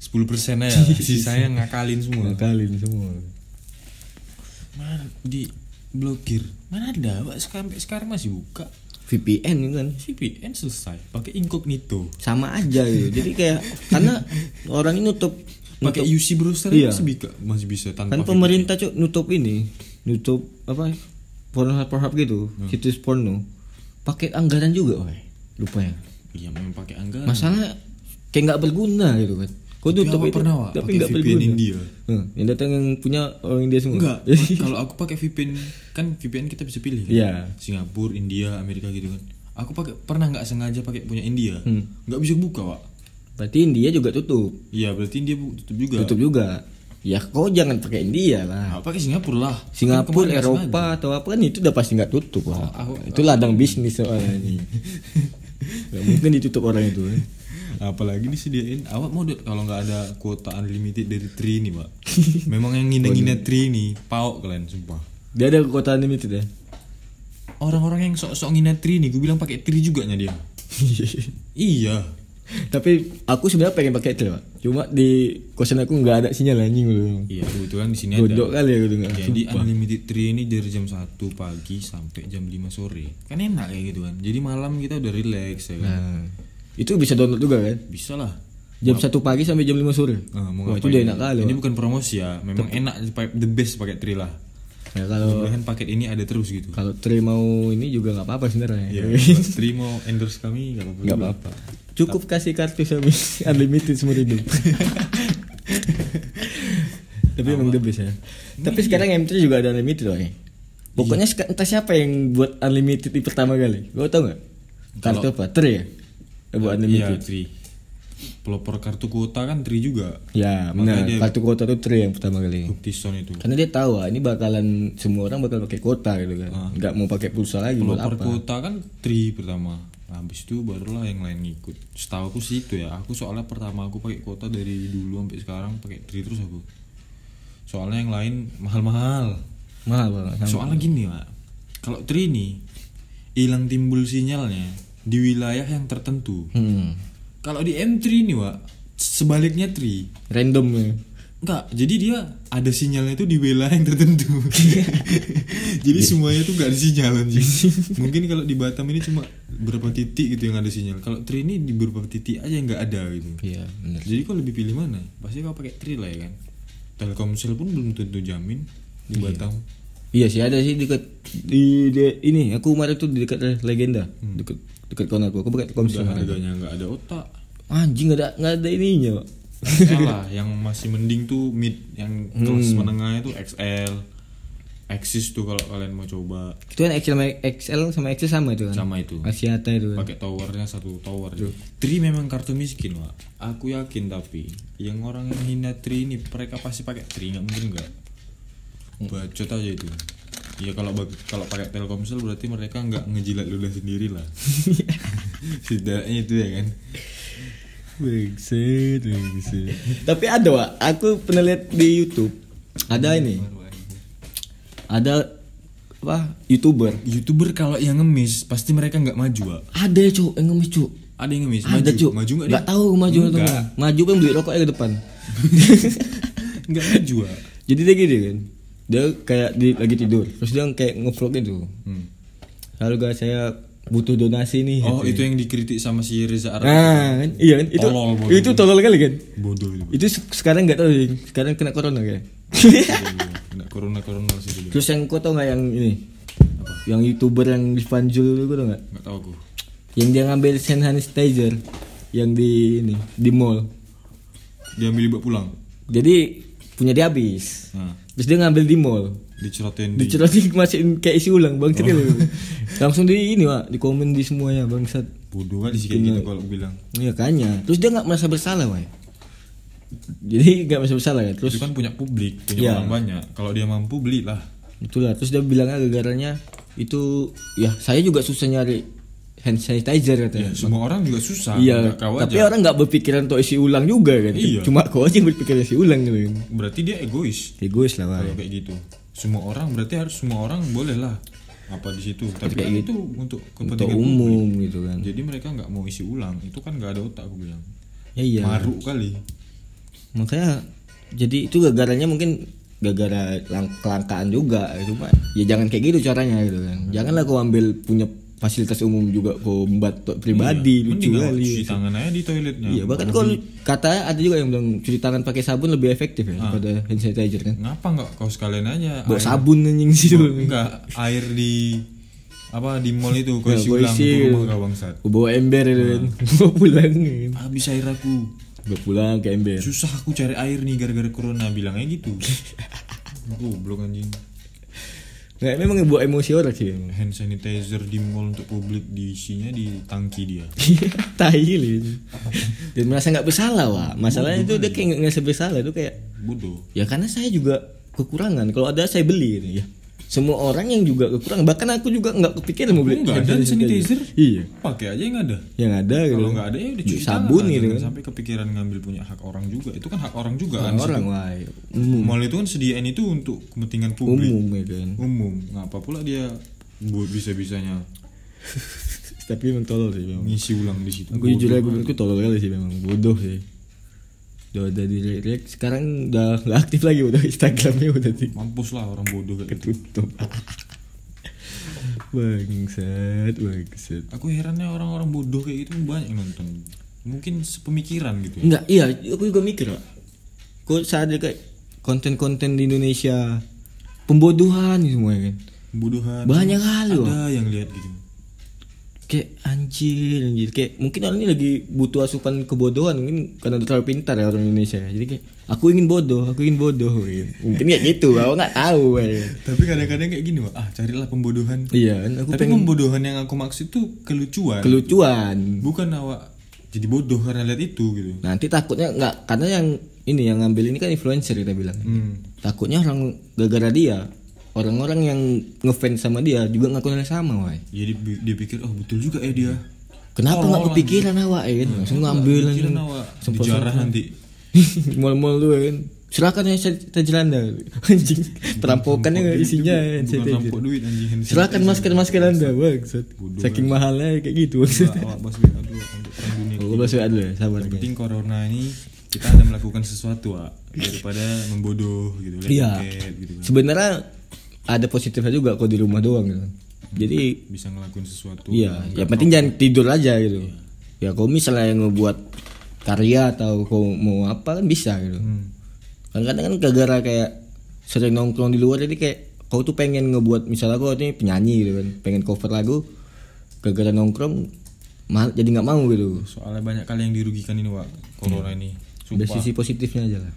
S2: 10%
S1: [LAUGHS]
S2: aja sisanya ngakalin semua
S1: Ngakalin semua.
S2: mana di blokir mana ada Wak, sekarang sekarang masih buka
S1: VPN kan
S2: VPN selesai pakai incognito
S1: sama aja
S2: [LAUGHS]
S1: gitu. Jadi kayak karena orang ini nutup
S2: pakai
S1: nutup-
S2: UC browser
S1: Iya.
S2: masih bisa masih bisa tanpa
S1: kan
S2: VPN.
S1: pemerintah cuk nutup ini nutup apa porno porno gitu
S2: Hmm.
S1: situs porno pakai anggaran juga woy lupa ya
S2: iya memang pakai anggaran
S1: masalah kayak nggak berguna gitu kan kau
S2: Tapi
S1: tutup
S2: awak
S1: itu
S2: pernah, Wak,
S1: tapi
S2: pakai
S1: nggak
S2: VPN
S1: berguna
S2: India?
S1: Hmm, yang datang yang punya orang India semua
S2: enggak kalau aku pakai VPN kan VPN kita bisa pilih kan?
S1: Iya.
S2: Singapura India Amerika gitu kan aku pakai pernah nggak sengaja pakai punya India
S1: Hmm.
S2: nggak bisa buka pak
S1: [LAUGHS] berarti India juga tutup
S2: iya berarti India bu- tutup juga
S1: tutup juga ya kau jangan pakai India lah
S2: Nah, pakai Singapura lah Kan
S1: Singapura,
S2: kemarin nggak
S1: Eropa
S2: sengaja.
S1: atau apa kan itu udah pasti nggak tutup Wak.
S2: aku-
S1: itu ladang bisnis
S2: Iya,
S1: soalnya ini [LAUGHS] nggak mungkin ditutup orang itu kan.
S2: apalagi disediain awak mau Dut, kalau nggak ada kuota unlimited dari Tri ini
S1: [LAUGHS]
S2: pak memang yang ngindang-ngindang Tri ini pau kalian sumpah
S1: dia ada kekuatan limited ya
S2: orang-orang yang sok-sok ngina tri nih gue bilang pakai tri juga nya
S1: [LAUGHS]
S2: dia iya
S1: Tapi aku sebenarnya pengen pakai itu, Pak. Cuma di kosan aku nggak ada sinyal anjing dulu.
S2: iya kebetulan di sini
S1: Godok
S2: ada
S1: kali ya gitu nggak.
S2: jadi unlimited tri ini dari jam 1 pagi sampai jam 5 sore kan enak kayak gitu kan jadi malam kita udah relax ya kan
S1: Nah, itu bisa download juga kan?
S2: bisa lah
S1: Jam satu pagi sampai jam 5 sore.
S2: Nah, mau
S1: Wah, itu
S2: ngapain?
S1: udah enak kali.
S2: ini
S1: Pak.
S2: bukan promosi ya memang enak pa- the best pakai tri lah
S1: Ya, kalau
S2: mudah-mudahan paket ini ada terus gitu
S1: kalau Tri mau ini juga nggak apa-apa sebenarnya. [LAUGHS]
S2: Iya, tri mau endorse kami nggak apa-apa
S1: Nggak
S2: juga.
S1: apa-apa. Hmm. Cukup kasih kartu sama [LAUGHS] unlimited seumur hidup. Tapi emang the best ya. Tapi sekarang M3 juga ada unlimited loh. ya. Pokoknya seka- entah siapa yang buat unlimited di pertama kali. Lo tau nggak? Kartu apa? Tri ya? Yang Buat
S2: iya
S1: unlimited.
S2: tri pelopor kartu kuota kan tri juga
S1: Ya, benar.
S2: Makanya dia-
S1: Kartu kota tuh Tri yang pertama kali.
S2: Bukti itu
S1: Karena dia tahu ah, ini bakalan semua orang bakal pakai kota gitu kan. Nggak mau pakai pulsa lagi buat
S2: pelopor
S1: apa?
S2: kuota kan tri pertama Nah, habis itu barulah yang lain ngikut setahu aku sih itu ya aku soalnya pertama aku pakai kuota dari dulu sampai sekarang pakai tri terus aku soalnya yang lain mahal-mahal
S1: Mahal banget.
S2: soalnya gini pak kalau tri ini hilang timbul sinyalnya di wilayah yang tertentu
S1: Hmm.
S2: kalau di M3 nih pak sebaliknya tri
S1: Random ya.
S2: Enggak, jadi dia ada sinyalnya tuh di wilayah yang tertentu.
S1: Iya.
S2: [LAUGHS] jadi semuanya tuh gak ada sinyal anjing.
S1: [LAUGHS]
S2: Mungkin kalau di Batam ini cuma berapa titik gitu yang ada sinyal. Kalau Tri ini di beberapa titik aja yang nggak ada gitu.
S1: Iya, benar.
S2: Jadi kau lebih pilih mana? Pasti kau pakai Tri lah ya kan. Telkomsel pun belum tentu jamin di Batam.
S1: Iya sih ada sih dekat di, di- ini aku kemarin tuh di dekat legenda dekat dekat kawan aku aku pakai komisi
S2: Hmm. Udah harganya nggak ada otak.
S1: anjing nggak ada nggak ada ininya Pak.
S2: Salah, [LAUGHS] yang masih mending tuh mid yang kelas
S1: Hmm.
S2: menengahnya tuh XL. Axis tuh kalau kalian mau coba
S1: itu kan XL sama XL sama XL sama itu kan
S2: sama itu.
S1: Asiata itu kan
S2: pakai towernya satu tower Tri memang kartu miskin lah aku yakin tapi yang orang yang hina Tri ini mereka pasti pakai Tri nggak mungkin nggak
S1: Hmm.
S2: bacot aja itu ya kalau bag- kalau pakai Telkomsel berarti mereka nggak ngejilat ludah sendiri
S1: [LAUGHS]
S2: lah setidaknya itu ya kan
S1: Bangsat, bangsat. [LAUGHS] tapi ada Wak aku pernah lihat di YouTube ada ini ada apa youtuber
S2: youtuber kalau yang ngemis pasti mereka nggak maju Wak.
S1: ada ya cuk yang ngemis cuk
S2: ada yang ngemis maju
S1: ada cuk
S2: maju nggak
S1: nggak tahu maju atau
S2: Nggak.
S1: nggak maju kan beli rokoknya ke
S2: [LAUGHS]
S1: depan
S2: nggak maju Wak.
S1: Jadi dia gini kan, dia kayak di, lagi tidur, terus dia kayak ngevlog itu.
S2: Hmm.
S1: Lalu guys saya butuh donasi nih. Gitu.
S2: Oh itu yang dikritik sama si Reza
S1: Iya,
S2: Arab.
S1: Nah, kan? iya kan? Itu
S2: Tolol, bodoh.
S1: itu tolol kali kan?
S2: Bodoh itu.
S1: Itu se- sekarang nggak tahu Ding. sekarang kena corona
S2: [LAUGHS]
S1: kayak.
S2: Kena corona corona sih dulu.
S1: Terus yang kau tau nggak yang ini? Yang youtuber yang di Spanjul itu tau nggak?
S2: Nggak tahu aku.
S1: Yang dia ngambil hand sanitizer yang di ini di mall.
S2: Diambil dibawa pulang.
S1: Jadi punya dia habis.
S2: Nah,
S1: Terus dia ngambil di mall.
S2: dicerotin di.
S1: Dicerotin masukin kayak isi ulang bang Cetil.
S2: Oh.
S1: [LAUGHS] Langsung di ini pak di komen di semuanya bangsat.
S2: Bodoh kali sih kayak gitu kalau aku bilang.
S1: Iya kanya. Terus dia nggak merasa bersalah wah. Jadi nggak merasa bersalah ya. Terus
S2: Terus kan punya publik,
S1: Iya.
S2: punya orang banyak. Kalau dia mampu belilah.
S1: itulah terus dia bilangnya gara-garanya itu ya saya juga susah nyari hand sanitizer
S2: Ya,
S1: katanya.
S2: semua orang juga susah.
S1: iya.
S2: nggak kau
S1: Tapi
S2: aja.
S1: orang nggak berpikiran untuk isi ulang juga kan.
S2: Iya.
S1: Cuma kau aja yang berpikir isi ulang gitu. kan.
S2: berarti dia egois.
S1: Egois lah wah.
S2: Kalau kayak gitu. Semua orang berarti harus semua orang boleh lah apa di situ. Tapi kan itu untuk
S1: gitu. Untuk
S2: kepentingan
S1: umum gitu kan.
S2: Jadi mereka nggak mau isi ulang. Itu kan nggak ada otak aku bilang.
S1: Ya iya.
S2: Maruk kali.
S1: Makanya jadi itu gagarannya mungkin gara-gara lang- kelangkaan juga cuma ya jangan kayak gitu caranya gitu kan. Janganlah kau ambil punya fasilitas umum juga kau buat untuk pribadi lucu
S2: Iya, Mending nggak
S1: kali.
S2: cuci tangan aja di toiletnya.
S1: Iya, bahkan kalau kata ada juga yang bilang cuci tangan pakai sabun lebih efektif
S2: Ah.
S1: ya daripada hand sanitizer kan.
S2: Ngapa nggak kau sekalian aja?
S1: Bawa
S2: air-
S1: sabun anjing gitu." sih
S2: Ah, iya. bawa-
S1: dulu.
S2: Nggak air di apa di mall itu kau
S1: Ya,
S2: isi
S1: kau
S2: ulang
S1: isi.
S2: ke rumah kau bangsat.
S1: Gua bawa ember gitu kan.
S2: Ah.
S1: [LAUGHS] Gua pulang. gitu.
S2: Habis air aku.
S1: Gua pulang ke ember.
S2: Susah aku cari air nih gara-gara corona bilangnya
S1: [LAUGHS]
S2: gitu. Goblok anjing.
S1: Nah, memang yang bawa emosi orang sih. [LAUGHS] emang.
S2: Hand sanitizer di mall untuk publik diisinya di tangki dia.
S1: Tai lin. Dan merasa nggak bersalah, Wak. Masalahnya itu dia kayak nggak ngerasa bersalah itu kayak
S2: Bodoh.
S1: ya karena saya juga kekurangan. Kalau ada saya beli gitu ya. Semua orang yang juga kekurangan, bahkan aku juga nggak kepikiran mau beli.
S2: Enggak ada
S1: hand
S2: hand sanitizer.
S1: Iya.
S2: Pakai aja yang ada.
S1: Yang ada gitu.
S2: Kalau nggak ada ya udah cuci
S1: sabun
S2: tangan.
S1: gitu
S2: Jangan
S1: kan.
S2: Sampai kepikiran ngambil punya hak orang juga. Itu kan hak orang juga kan.
S1: orang wah. Umum.
S2: Mall itu kan sediain itu untuk kepentingan publik.
S1: umum ya kan
S2: umum ngapa pula dia buat bisa bisanya
S1: tapi emang tolol sih memang
S2: ngisi ulang di situ
S1: aku jujur aja gue bilang, aku tolol kali sih memang bodoh sih udah ada di react sekarang udah nggak aktif lagi udah instagramnya udah di-
S2: mampus lah orang bodoh kayak gitu
S1: ketutup [LAUGHS] bangsat bangsat
S2: aku herannya orang-orang bodoh kayak gitu banyak yang nonton mungkin sepemikiran gitu ya
S1: enggak iya aku juga mikir Pak. kok saat ada kayak konten-konten di Indonesia pembodohan gitu semuanya kan
S2: Hmm. bodohan
S1: Banyak kali,
S2: ada yang lihat gitu
S1: kayak anjir anjir kayak mungkin orang ini lagi butuh asupan kebodohan mungkin karena udah terlalu pintar ya orang Indonesia jadi kayak aku ingin bodoh aku ingin bodoh gitu. mungkin kayak gitu aku nggak tahu ya.
S2: tapi kadang-kadang kayak gini wah ah carilah pembodohan
S1: iya kan aku
S2: tapi
S1: pengen
S2: pembodohan yang aku maksud tuh kelucuan
S1: kelucuan
S2: bukan awak jadi bodoh karena lihat itu gitu
S1: nanti takutnya nggak karena yang ini yang ngambil ini kan influencer kita bilang
S2: hmm.
S1: takutnya orang gara-gara dia orang-orang yang ngefans sama dia juga ngakuin hal sama wah
S2: jadi bi- dia pikir oh betul juga ya dia
S1: kenapa
S2: Oh,
S1: nggak kepikiran
S2: iya.
S1: awak ya kan langsung ngambil
S2: pikiran
S1: langsung.
S2: Hmm, awak
S1: [LAUGHS]
S2: dijarah nanti
S1: Mall-mall lu ya kan. Silakan ya sanitizer Anda. [LAUGHS] Anjing, perampokannya nggak isinya
S2: Bukan
S1: sanitizer.
S2: rampok duit anjing hand
S1: Silakan masker-masker Anda, maksud.
S2: Bodoh,
S1: Saking mahalnya kayak gitu. maksud. [LAUGHS]
S2: Awak bos duit aduh untuk perang dunia.
S1: Gua bahas WA dulu ya, sabar
S2: Yang
S1: guys.
S2: penting corona ini kita ada melakukan sesuatu ah daripada membodoh gitu lihat
S1: Iya.
S2: tiket, gitu kan.
S1: Sebenarnya ada positifnya juga kalau di rumah doang gitu. Jadi
S2: Bisa ngelakuin sesuatu.
S1: iya, yang penting jangan tidur aja gitu.
S2: Iya.
S1: Ya kalau misalnya yang ngebuat karya atau kau mau apa kan bisa gitu.
S2: Hmm.
S1: Kadang-kadang kan gara-gara kayak sering nongkrong di luar jadi kayak kau tuh pengen ngebuat misalnya kau ini penyanyi gitu kan, pengen cover lagu gara-gara nongkrong mal, jadi nggak mau gitu.
S2: Soalnya banyak kali yang dirugikan ini Wak, corona
S1: Iya.
S2: ini.
S1: Ada
S2: Sumpah
S1: sisi positifnya aja lah.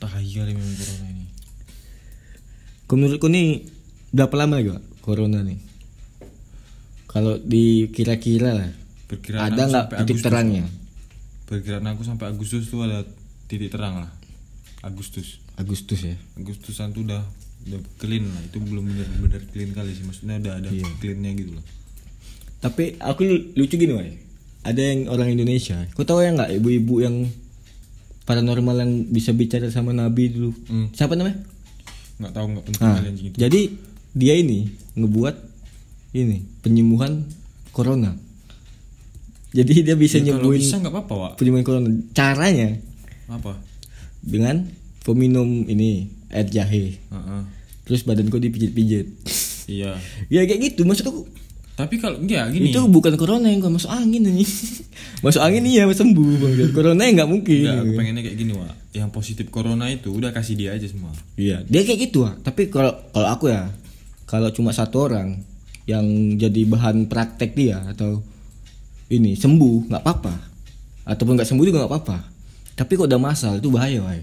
S2: tai kali memang corona ini.
S1: Kau menurutku nih berapa lama lagi Pak, corona nih? Kalau dikira-kira lah, ada
S2: Perkiraan aku
S1: nggak
S2: sampai
S1: titik
S2: Agustus.
S1: terangnya?
S2: Perkiraan aku sampai Agustus tuh ada titik terang lah. Agustus.
S1: Agustus ya.
S2: Agustusan tuh udah udah clean lah itu belum benar-benar clean kali sih maksudnya udah ada
S1: Iya.
S2: cleannya gitu loh
S1: Tapi aku lu- lucu gini Wai. Ada yang orang Indonesia. Kau tahu yang nggak ibu-ibu yang paranormal yang bisa bicara sama Nabi dulu?
S2: Hmm.
S1: Siapa namanya?
S2: nggak tahu nggak penting
S1: Nah,
S2: kali anjing itu
S1: jadi dia ini ngebuat ini penyembuhan corona. Jadi dia bisa
S2: Ya, kalau
S1: nyembuhin
S2: bisa nggak apa-apa Wak.
S1: penyembuhan corona. Caranya
S2: apa
S1: dengan kau minum ini air jahe.
S2: Heeh.
S1: Terus badan kau dipijit-pijit. [LAUGHS]
S2: iya
S1: ya kayak gitu maksud aku
S2: tapi kalau enggak gini
S1: Itu bukan corona yang gua masuk angin nih. [LAUGHS] masuk angin iya sembuh bang. Corona yang nggak mungkin.
S2: enggak, aku pengennya kayak gini Wak yang positif corona itu udah kasih dia aja semua
S1: Iya, dia kayak gitu ah. Tapi kalau kalau aku ya, kalau cuma satu orang yang jadi bahan praktek dia atau ini sembuh nggak apa-apa, ataupun nggak sembuh juga nggak apa-apa. Tapi kalau udah masal itu bahaya, wai.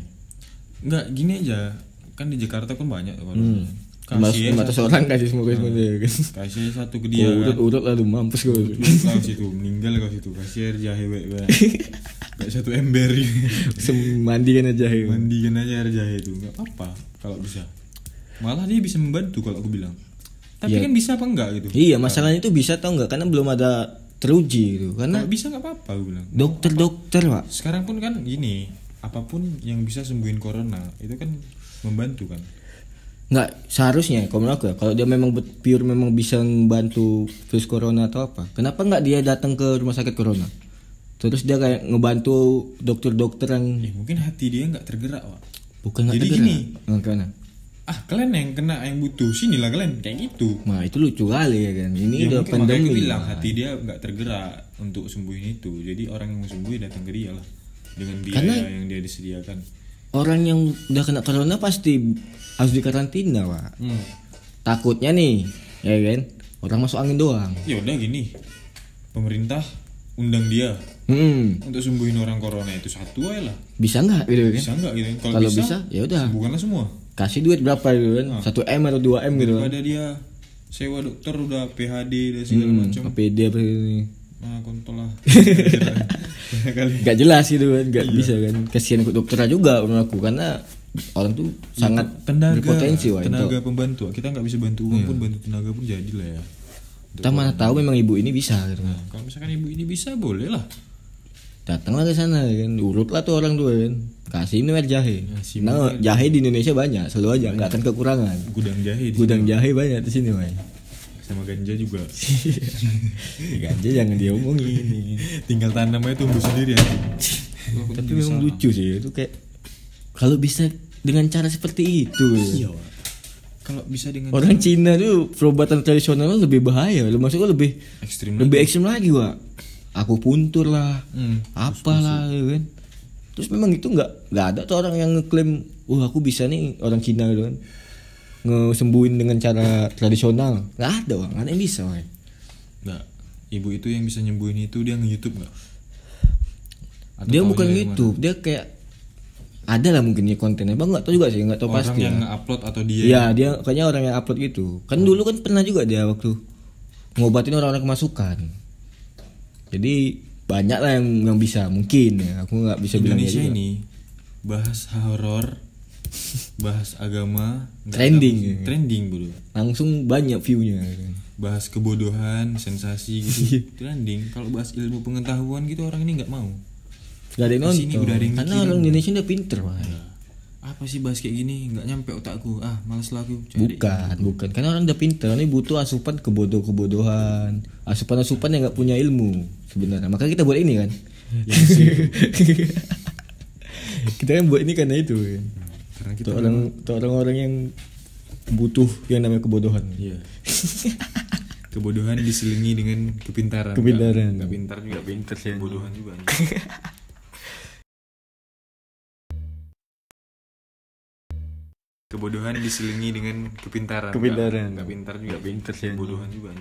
S2: enggak gini aja kan di Jakarta kan banyak kalau
S1: Hmm. Mas,
S2: kasih aja
S1: mata seorang kasih semua kasih semua kan.
S2: kasih aja satu ke dia kan.
S1: Urut-urut lah lu mampus [LAUGHS] gue.
S2: Kau situ meninggal kau situ kasir jahe wek
S1: [LAUGHS]
S2: wek. Gak satu ember
S1: Sem- Mandikan aja ya.
S2: mandikan aja air jahe itu nggak apa-apa kalau bisa malah dia bisa membantu kalau aku bilang tapi
S1: Ya.
S2: kan bisa apa enggak gitu
S1: Iya, masalahnya itu bisa tau nggak? Karena belum ada teruji gitu. Karena
S2: kalau bisa nggak apa-apa aku bilang
S1: dokter-dokter pak.
S2: sekarang pun kan gini apapun yang bisa sembuhin corona itu kan membantu kan
S1: nggak seharusnya kalau menurut aku ya, kalau dia memang bet- pure memang bisa membantu virus corona atau apa kenapa nggak dia datang ke rumah sakit corona terus dia kayak ngebantu dokter-dokter yang
S2: ya mungkin hati dia nggak tergerak Wak.
S1: bukan nggak
S2: Jadi
S1: tergerak.
S2: gini.
S1: Nah, gimana?
S2: ah kalian yang kena yang butuh sinilah kalian kayak gitu
S1: nah itu lucu kali ya kan ini
S2: ya
S1: udah
S2: mungkin makanya
S1: pandemi
S2: aku bilang
S1: Pak.
S2: hati dia nggak tergerak untuk sembuhin itu jadi orang yang mau sembuh ya datang ke dia lah dengan biaya
S1: Karena-
S2: yang dia disediakan
S1: orang yang udah kena corona pasti harus dikarantina pak takutnya nih ya kan orang masuk angin doang
S2: ya udah gini pemerintah undang dia
S1: hmm,
S2: untuk sembuhin orang corona itu satu aja lah
S1: bisa nggak gitu kan
S2: bisa nggak gitu kalau
S1: Kalau
S2: bisa,
S1: bisa, ya udah.
S2: sembuhkanlah semua
S1: kasih duit berapa gitu kan
S2: Ah.
S1: satu m atau 2 m gitu kan
S2: daripada dia sewa dokter udah PHD dan segala macam
S1: APD Hmm, apa gitu. ini
S2: nah kontol lah kali
S1: nggak jelas gitu kan nggak bisa kan kasihan ikut dokternya juga menurut aku karena orang tuh sangat
S2: tenaga
S1: berpotensi Iya. wah
S2: tenaga
S1: itu
S2: pembantu Wak. kita nggak bisa bantu uang pun bantu tenaga pun jadilah ya
S1: kita mana tahu memang ibu ini bisa gitu kan
S2: Nah, kalau misalkan ibu ini bisa boleh lah
S1: datanglah ke sana kan urutlah tuh orang tua kan kasih minum air jahe
S2: Kasih
S1: nah jahe di Indonesia banyak selalu aja nggak akan kekurangan
S2: gudang jahe di
S1: gudang jahe banyak di sini wah
S2: sini. sama ganja juga
S1: ganja jangan diomongin
S2: tinggal tanam aja tumbuh sendiri ya
S1: tapi memang lucu sih itu kayak kalau bisa dengan cara seperti itu
S2: iya Wak. kalau bisa dengan
S1: Hmm. Orang Cina tuh perobatan tradisionalnya lebih bahaya. Lu maksudnya lebih
S2: ekstrim
S1: lebih ekstrim lagi, Wak. Aku puntur lah.
S2: Hmm,
S1: apalah gitu kan. Terus memang itu nggak nggak ada tuh orang yang ngeklaim, "Wah, aku bisa nih orang Cina gitu kan." Ngesembuhin dengan cara tradisional. Nggak ada, Wak. Nggak ada yang bisa, Wak.
S2: nggak ibu itu yang bisa nyembuhin itu dia nge-youtube nggak Atau
S1: Dia
S2: tahu
S1: bukan
S2: dari
S1: gitu. Dia kayak ada lah mungkin ya kontennya. Bang nggak tahu juga sih, nggak
S2: mana?
S1: tahu
S2: orang
S1: pasti.
S2: yang
S1: lah.
S2: nge-upload atau dia
S1: Iya, dia kayaknya orang yang upload gitu. Kan dulu kan pernah juga dia waktu ngobatin orang-orang kemasukan. Jadi banyak lah yang yang bisa mungkin ya. Aku nggak bisa bilang
S2: Indonesia
S1: ya juga.
S2: ini bahas horor bahas agama nggak
S1: Trending.
S2: ada- trending bro
S1: langsung banyak view-nya.
S2: bahas kebodohan
S1: Iya.
S2: sensasi gitu trending kalau bahas ilmu pengetahuan gitu orang ini nggak mau
S1: Gak ada yang
S2: Di
S1: nonton.
S2: sini udah ada yang Nah,
S1: Karena
S2: mikirin.
S1: orang Indonesia udah pinter, Pak.
S2: apa sih bahas kayak gini nggak nyampe otakku ah males lah aku cari
S1: Bukan, bukan. Karena orang udah pinter, ini butuh asupan kebodoh-kebodohan, asupan-asupan yang nggak punya ilmu sebenarnya. Maka kita buat ini kan.
S2: Iya
S1: [LAUGHS] kita kan buat ini karena itu. Kan.
S2: karena kita
S1: Untuk orang untuk orang-orang yang butuh yang namanya kebodohan.
S2: Iya. [LAUGHS] Kebodohan diselingi dengan kepintaran.
S1: Kepintaran.
S2: Gak, pintar juga pintar sih. Kebodohan [LAUGHS] juga. Kebodohan diselingi dengan kepintaran.
S1: Kepintaran.
S2: Gak, pintar juga pintar sih. Kebodohan juga.